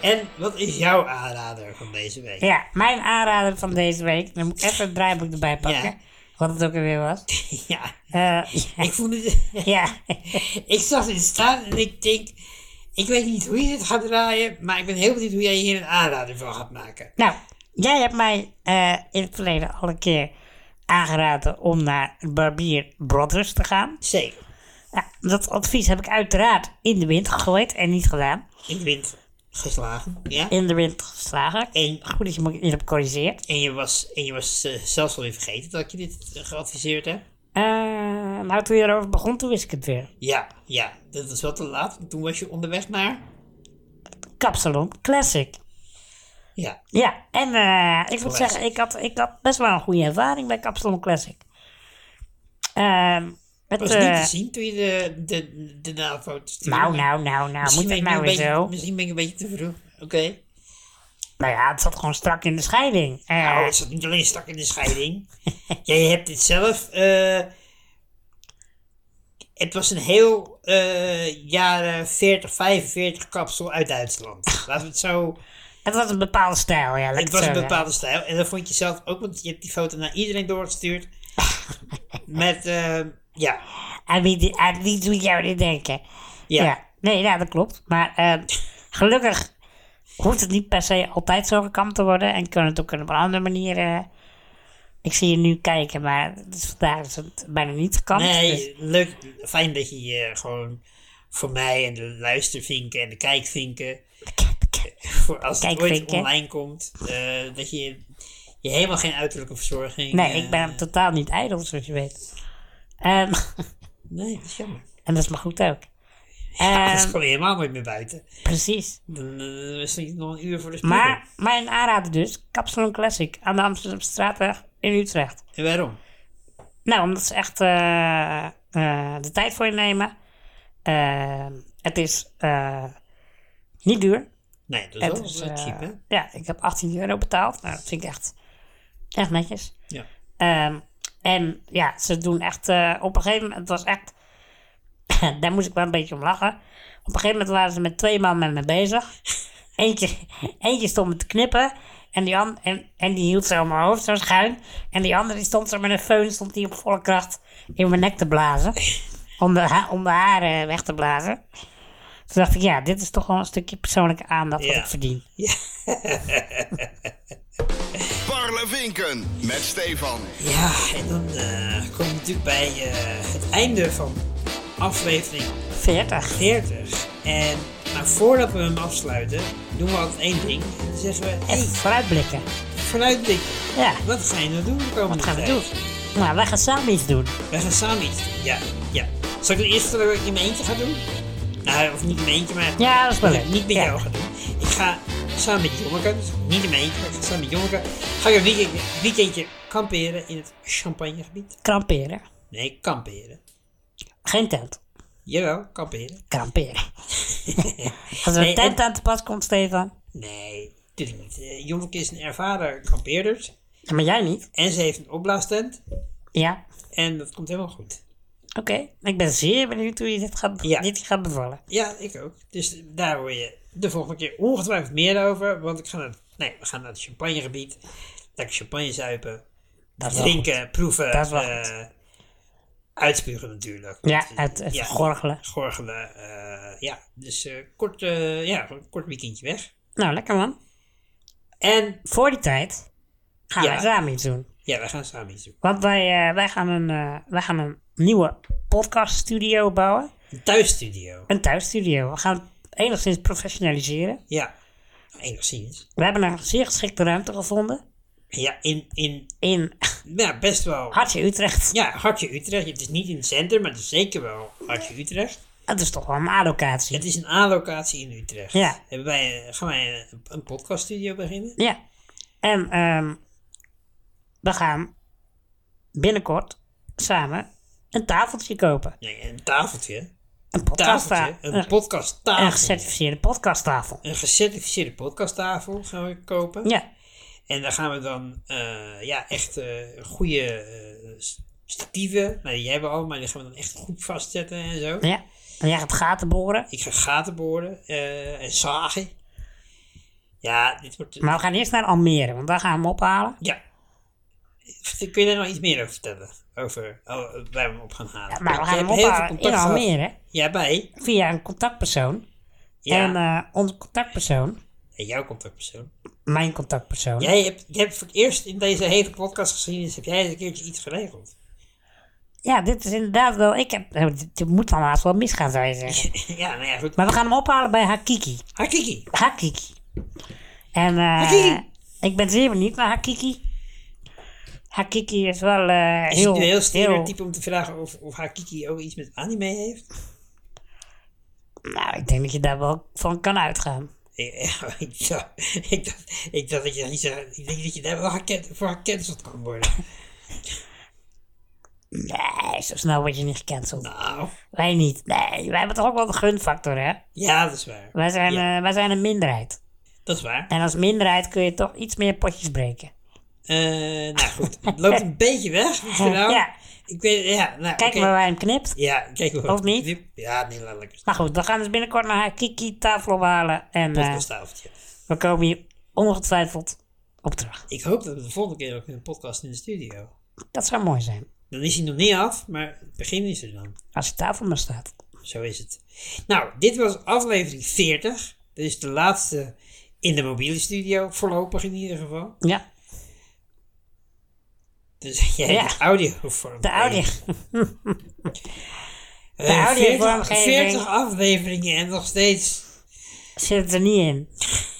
A: en wat is jouw aanrader van deze week?
B: Ja, mijn aanrader van deze week. Dan moet ik even het draaiboek erbij pakken.
A: Ja.
B: Wat het ook alweer was.
A: Ja,
B: Eh,
A: ik voel het...
B: ja.
A: ik zag dit staan en ik denk... Ik weet niet hoe je dit gaat draaien, maar ik ben heel benieuwd hoe jij hier een aanrader van gaat maken.
B: Nou, jij hebt mij eh, in het verleden al een keer aangeraden om naar Barbier Brothers te gaan.
A: Zeker.
B: Nou, dat advies heb ik uiteraard in de wind gegooid en niet gedaan.
A: Ik ben geslagen, ja.
B: In de wind geslagen.
A: En,
B: Goed dat je me hier hebt gecorrigeerd.
A: en je was, en je was eh, zelfs alweer vergeten dat ik je dit eh, geadviseerd heb.
B: Eh, nou, toen je erover begon, toen wist ik het weer.
A: Ja, ja, dat was wel te laat, want toen was je onderweg naar...
B: Kapsalon Classic.
A: Ja,
B: Ja, en eh, ik moet
A: Classic.
B: zeggen, ik had, ik had best wel een goede ervaring bij Kapsalon Classic. Ehm het,
A: was niet
B: eh,
A: te zien toen je de, de, de naamfoto stuurde.
B: nou, nou, nou, nou, moet
A: ben
B: het
A: ik
B: nou
A: nu
B: weer
A: een beetje-
B: zo?
A: Misschien ben ik een beetje te vroeg. Oké.
B: Nou ja, het zat gewoon strak in de scheiding. Eh,
A: Nou, het zat niet alleen strak in de scheiding. Jij hebt dit zelf. eh, het was een heel eh, jaren 40, 45 kapsel uit Duitsland. Laten we het zo
B: Het was een bepaalde stijl, ja. laat
A: Het
B: ik
A: was
B: zo
A: een
B: zeggen.
A: bepaalde stijl. En dat vond je zelf ook, want je hebt die foto naar iedereen doorgestuurd. Met, eh, ja.
B: Aan wie, die- aan wie doet jou niet denken?
A: Ja.
B: Nee, ja, dat klopt. Maar eh, gelukkig hoeft het niet per se altijd zo gekampt te worden. En kan het ook op een andere manier... eh, ik zie je nu kijken, maar het is vandaag is het bijna niet gekampt. dus-
A: Nee, leuk. Fijn dat je eh, gewoon voor mij en de luistervinken en de kijkvinken,
B: Dus-
A: voor als het ooit
B: Kijkvinken.
A: online komt, eh, dat je je helemaal geen uiterlijke verzorging...
B: Nee,
A: eh,
B: ik ben totaal niet ijdel, zoals je weet. Ehm,
A: Nee, dat is jammer.
B: en dat is maar goed ook.
A: dat
B: Ehm,
A: is gewoon helemaal nooit meer buiten.
B: precies.
A: Dan eh, is het nog een uur voor de spiegel.
B: Maar mijn aanrader dus, Kapsalon Classic aan de Amsterdamse straatweg in Utrecht.
A: En waarom?
B: Nou, omdat ze echt eh, eh, de tijd voor je nemen. Eh, het is eh, niet duur.
A: Nee, dat is
B: Het
A: wel
B: is,
A: eh,
B: eh,
A: cheap, hè?
B: Ja, ik heb 18 euro betaald. Nou, dat vind ik echt, echt netjes.
A: Ja.
B: Ehm, en ja, ze doen echt. eh, op een gegeven moment, het was echt. daar moest ik wel een beetje om lachen. Op een gegeven moment waren ze met twee man met me bezig. Eentje, eentje stond me te knippen. En die, an- en, en die hield zo mijn hoofd zo schuin. En die andere die stond zo met een föhn. Stond die op volle kracht in mijn nek te blazen. Om de, ha- om de haren weg te blazen. Toen dacht ik, ja, dit is toch wel een stukje persoonlijke aandacht wat
A: Ja.
B: ik verdien.
D: Parlevinken met Stefan.
A: Ja, en dan eh kom je natuurlijk bij eh, het einde van aflevering
B: 40.
A: 40. En maar voordat we hem afsluiten, doen we altijd één ding. Dan zeggen we,
B: Even
A: hey,
B: vooruitblikken.
A: vooruitblik.
B: Ja,
A: Wat ga je nou doen de komende
B: wat gaan we
A: tijd?
B: doen? Nou, wij gaan samen iets doen.
A: Wij gaan samen iets doen. Ja, ja. Zal ik het eerst vertellen wat ik in mijn eentje ga doen? Nou, of niet in mijn eentje, maar
B: Ja, dat is wel
A: wat
B: leuk.
A: ik niet met
B: Ja.
A: jou ga doen. Ik ga samen met Jonneke, dus niet in mijn eentje, maar ik ga samen met Jonneke, ga ik een weekendje, weekendje kamperen in het champagnegebied.
B: Kramperen.
A: Nee, kamperen.
B: Geen tent.
A: Jawel, kamperen.
B: Kramperen. Als er
A: Nee,
B: een tent
A: en-
B: aan te pas komt, Stefan.
A: Nee, natuurlijk niet. Eh, Jonneke is een ervaren kampeerder.
B: Ja, maar jij niet.
A: En ze heeft een opblaastent.
B: Ja.
A: En dat komt helemaal goed.
B: Oké. Ik ben zeer benieuwd hoe je dit gaat,
A: Ja.
B: dit gaat bevallen.
A: Ja, ik ook. Dus daar hoor je de volgende keer ongetwijfeld meer over. Want ik ga naar, nee, we gaan naar het champagnegebied. Lekker champagne zuipen.
B: Dat is wel
A: drinken, proeven.
B: Dat is wel
A: eh, uitspugen natuurlijk.
B: goed. Ja,
A: Want, eh,
B: het, het
A: ja,
B: gorgelen.
A: Gorgelen. eh, ja, dus eh, kort, eh, ja, een kort weekendje weg.
B: Nou, lekker man.
A: En
B: Voor die tijd gaan
A: Ja.
B: wij samen iets doen.
A: ja, we gaan samen iets doen.
B: Want wij, eh, wij, gaan een, eh, wij gaan een nieuwe podcaststudio bouwen.
A: Een thuisstudio.
B: Een thuisstudio. We gaan het enigszins professionaliseren.
A: Ja, enigszins.
B: We hebben een zeer geschikte ruimte gevonden.
A: Ja, in, in
B: In
A: ja, best wel
B: Hartje Utrecht.
A: Ja, Hartje Utrecht. Het is niet in het centrum, maar het is zeker wel Hartje Utrecht.
B: Dat is toch wel een allocatie.
A: Het is een A-locatie in Utrecht.
B: Ja.
A: Hebben wij, eh, gaan wij een, een podcaststudio beginnen?
B: Ja. En ehm, we gaan binnenkort samen een tafeltje kopen.
A: Nee, een tafeltje. Tafeltje.
B: Een podcasttafel.
A: Een
B: Een,
A: podcasttafel.
B: een gecertificeerde podcasttafel.
A: Een gecertificeerde podcasttafel gaan we kopen.
B: Ja.
A: En daar gaan we dan eh, ja, echt eh, goede eh, s- statieven. Nou, die hebben we al, maar die gaan we dan echt goed vastzetten en zo.
B: ja. En jij gaat gaten boren.
A: Ik ga gaten boren eh, en zagen. Ja, dit wordt...
B: Maar we gaan eerst naar Almere, want daar gaan we hem ophalen.
A: Ja. Kun je daar nog iets meer over vertellen? Over oh, waar we hem op gaan halen?
B: Ja, maar we
A: Want
B: gaan
A: je
B: hem
A: hebt heel veel
B: ophalen in
A: contact gehad.
B: Almere
A: Ja, bij.
B: via een contactpersoon.
A: Ja.
B: En eh, onze contactpersoon,
A: En jouw contactpersoon.
B: mijn contactpersoon,
A: Jij hebt, jij hebt voor het eerst in deze hele podcastgeschiedenis heb jij eens een keertje iets geregeld.
B: Ja, dit is inderdaad wel. Ik heb, eh, dit- dit moet dan haast wel misgaan, zou je zeggen.
A: ja, nou ja, goed.
B: Maar we gaan hem ophalen bij Hakiki.
A: Hakiki.
B: Hakiki. En eh,
A: Hakiki.
B: ik ben zeer benieuwd naar Hakiki. Hakiki is wel eh,
A: Is
B: heel.
A: het nu heel
B: heel-
A: stereotyp om te vragen of, of Hakiki ook iets met anime heeft?
B: Nou, ik denk dat je daar wel van kan uitgaan.
A: Ja, ik dacht, ik dacht, ik dacht dat je dat niet zou- Ik denk dat je daar wel geken- voor gecanceld kan worden.
B: Nee, zo snel word je niet gecanceld.
A: Nou,
B: Wij niet. Nee, wij hebben toch ook wel de gunfactor, hè?
A: ja, dat is waar.
B: Wij zijn,
A: Ja.
B: eh, wij zijn een minderheid.
A: Dat is waar.
B: En als minderheid kun je toch iets meer potjes breken.
A: Eh, nou goed, het loopt een beetje weg. het verhaal.
B: Ja.
A: Ik weet, ja, nou,
B: Kijk
A: oké.
B: maar waar hij hem knipt.
A: Ja, kijk maar.
B: Of niet?
A: Ja, nee, laat lekker.
B: Maar goed, we gaan dus binnenkort naar Hakiki tafel ophalen. En eh,
A: Podcastafeltje.
B: we komen hier ongetwijfeld op terug.
A: Ik hoop dat we de volgende keer ook een podcast in de studio.
B: Dat zou mooi zijn.
A: Dan is hij nog niet af, maar het begin is er dan.
B: Als de tafel maar staat.
A: Zo is het. Nou, dit was aflevering 40. Dit is de laatste in de mobiele studio, voorlopig in ieder geval.
B: Ja,
A: Dus jij
B: Ja.
A: de audio vorm.
B: de audio.
A: de
B: audio
A: 40,
B: vormgeving.
A: 40 Eh, afleveringen en nog steeds.
B: zit het er niet in.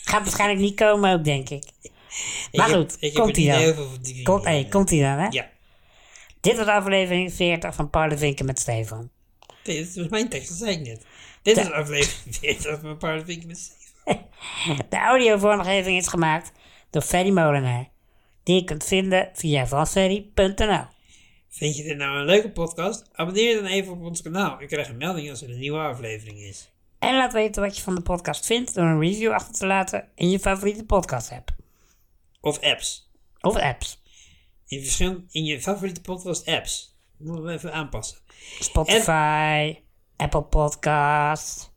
B: Gaat waarschijnlijk niet komen ook, denk ik. Maar
A: ik heb-
B: goed,
A: ik heb
B: komt
A: er
B: ie
A: niet
B: dan.
A: heel veel van die-
B: Komt, hey, komt ie dan, hè?
A: Ja,
B: Dit was aflevering 40 van Paul de Vinken met Stefan.
A: nee, dat was mijn tekst, dat zei ik net. Dit is aflevering 40 van Paul Vink met Steven.
B: De audiovormgeving is gemaakt door Ferry Molenaar. Die je kunt vinden via vanferry.nl.
A: Vind je dit nou een leuke podcast? Abonneer je dan even op ons kanaal. Je krijgt een melding als er een nieuwe aflevering is.
B: En laat weten wat je van de podcast vindt door een review achter te laten in je favoriete podcast app.
A: Of apps.
B: Of apps.
A: In, verschil, in je favoriete podcast apps. Moeten we even aanpassen.
B: Spotify, Apple Podcast,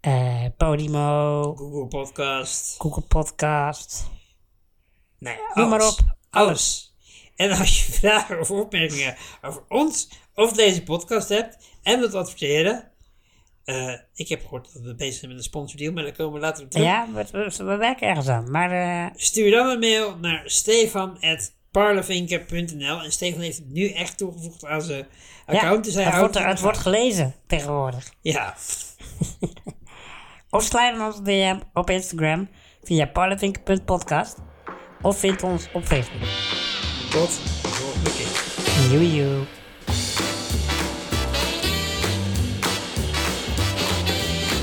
B: eh, Podimo,
A: Google Podcast.
B: Google Podcast.
A: Nee,
B: Noem maar
A: alles.
B: op.
A: Alles. En als je vragen of opmerkingen over ons of deze podcast hebt en wilt adverteren. eh, ik heb gehoord dat we bezig zijn met een sponsordeal, maar daar komen we later op terug.
B: Ja, we, we- we werken ergens aan. Maar eh,
A: Stuur dan een mail naar stefan.parlevinken.nl En Stefan heeft het nu echt toegevoegd aan zijn account. dus
B: ja,
A: hij
B: het, wordt,
A: houdt
B: het wordt gelezen tegenwoordig.
A: Ja,
B: Of sluit ons DM op Instagram via parlevink.podcast of vind ons op Facebook.
A: tot de volgende keer.
B: Joejoe.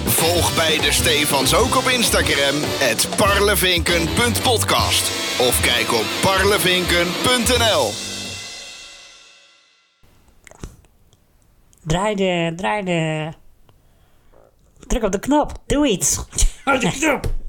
D: Volg beide Stefans ook op Instagram, het parlevinken.podcast. Of kijk op parlevinken.nl.
B: Draai de, draai de... Druk op de knop. Doe iets.
A: Houd de knop!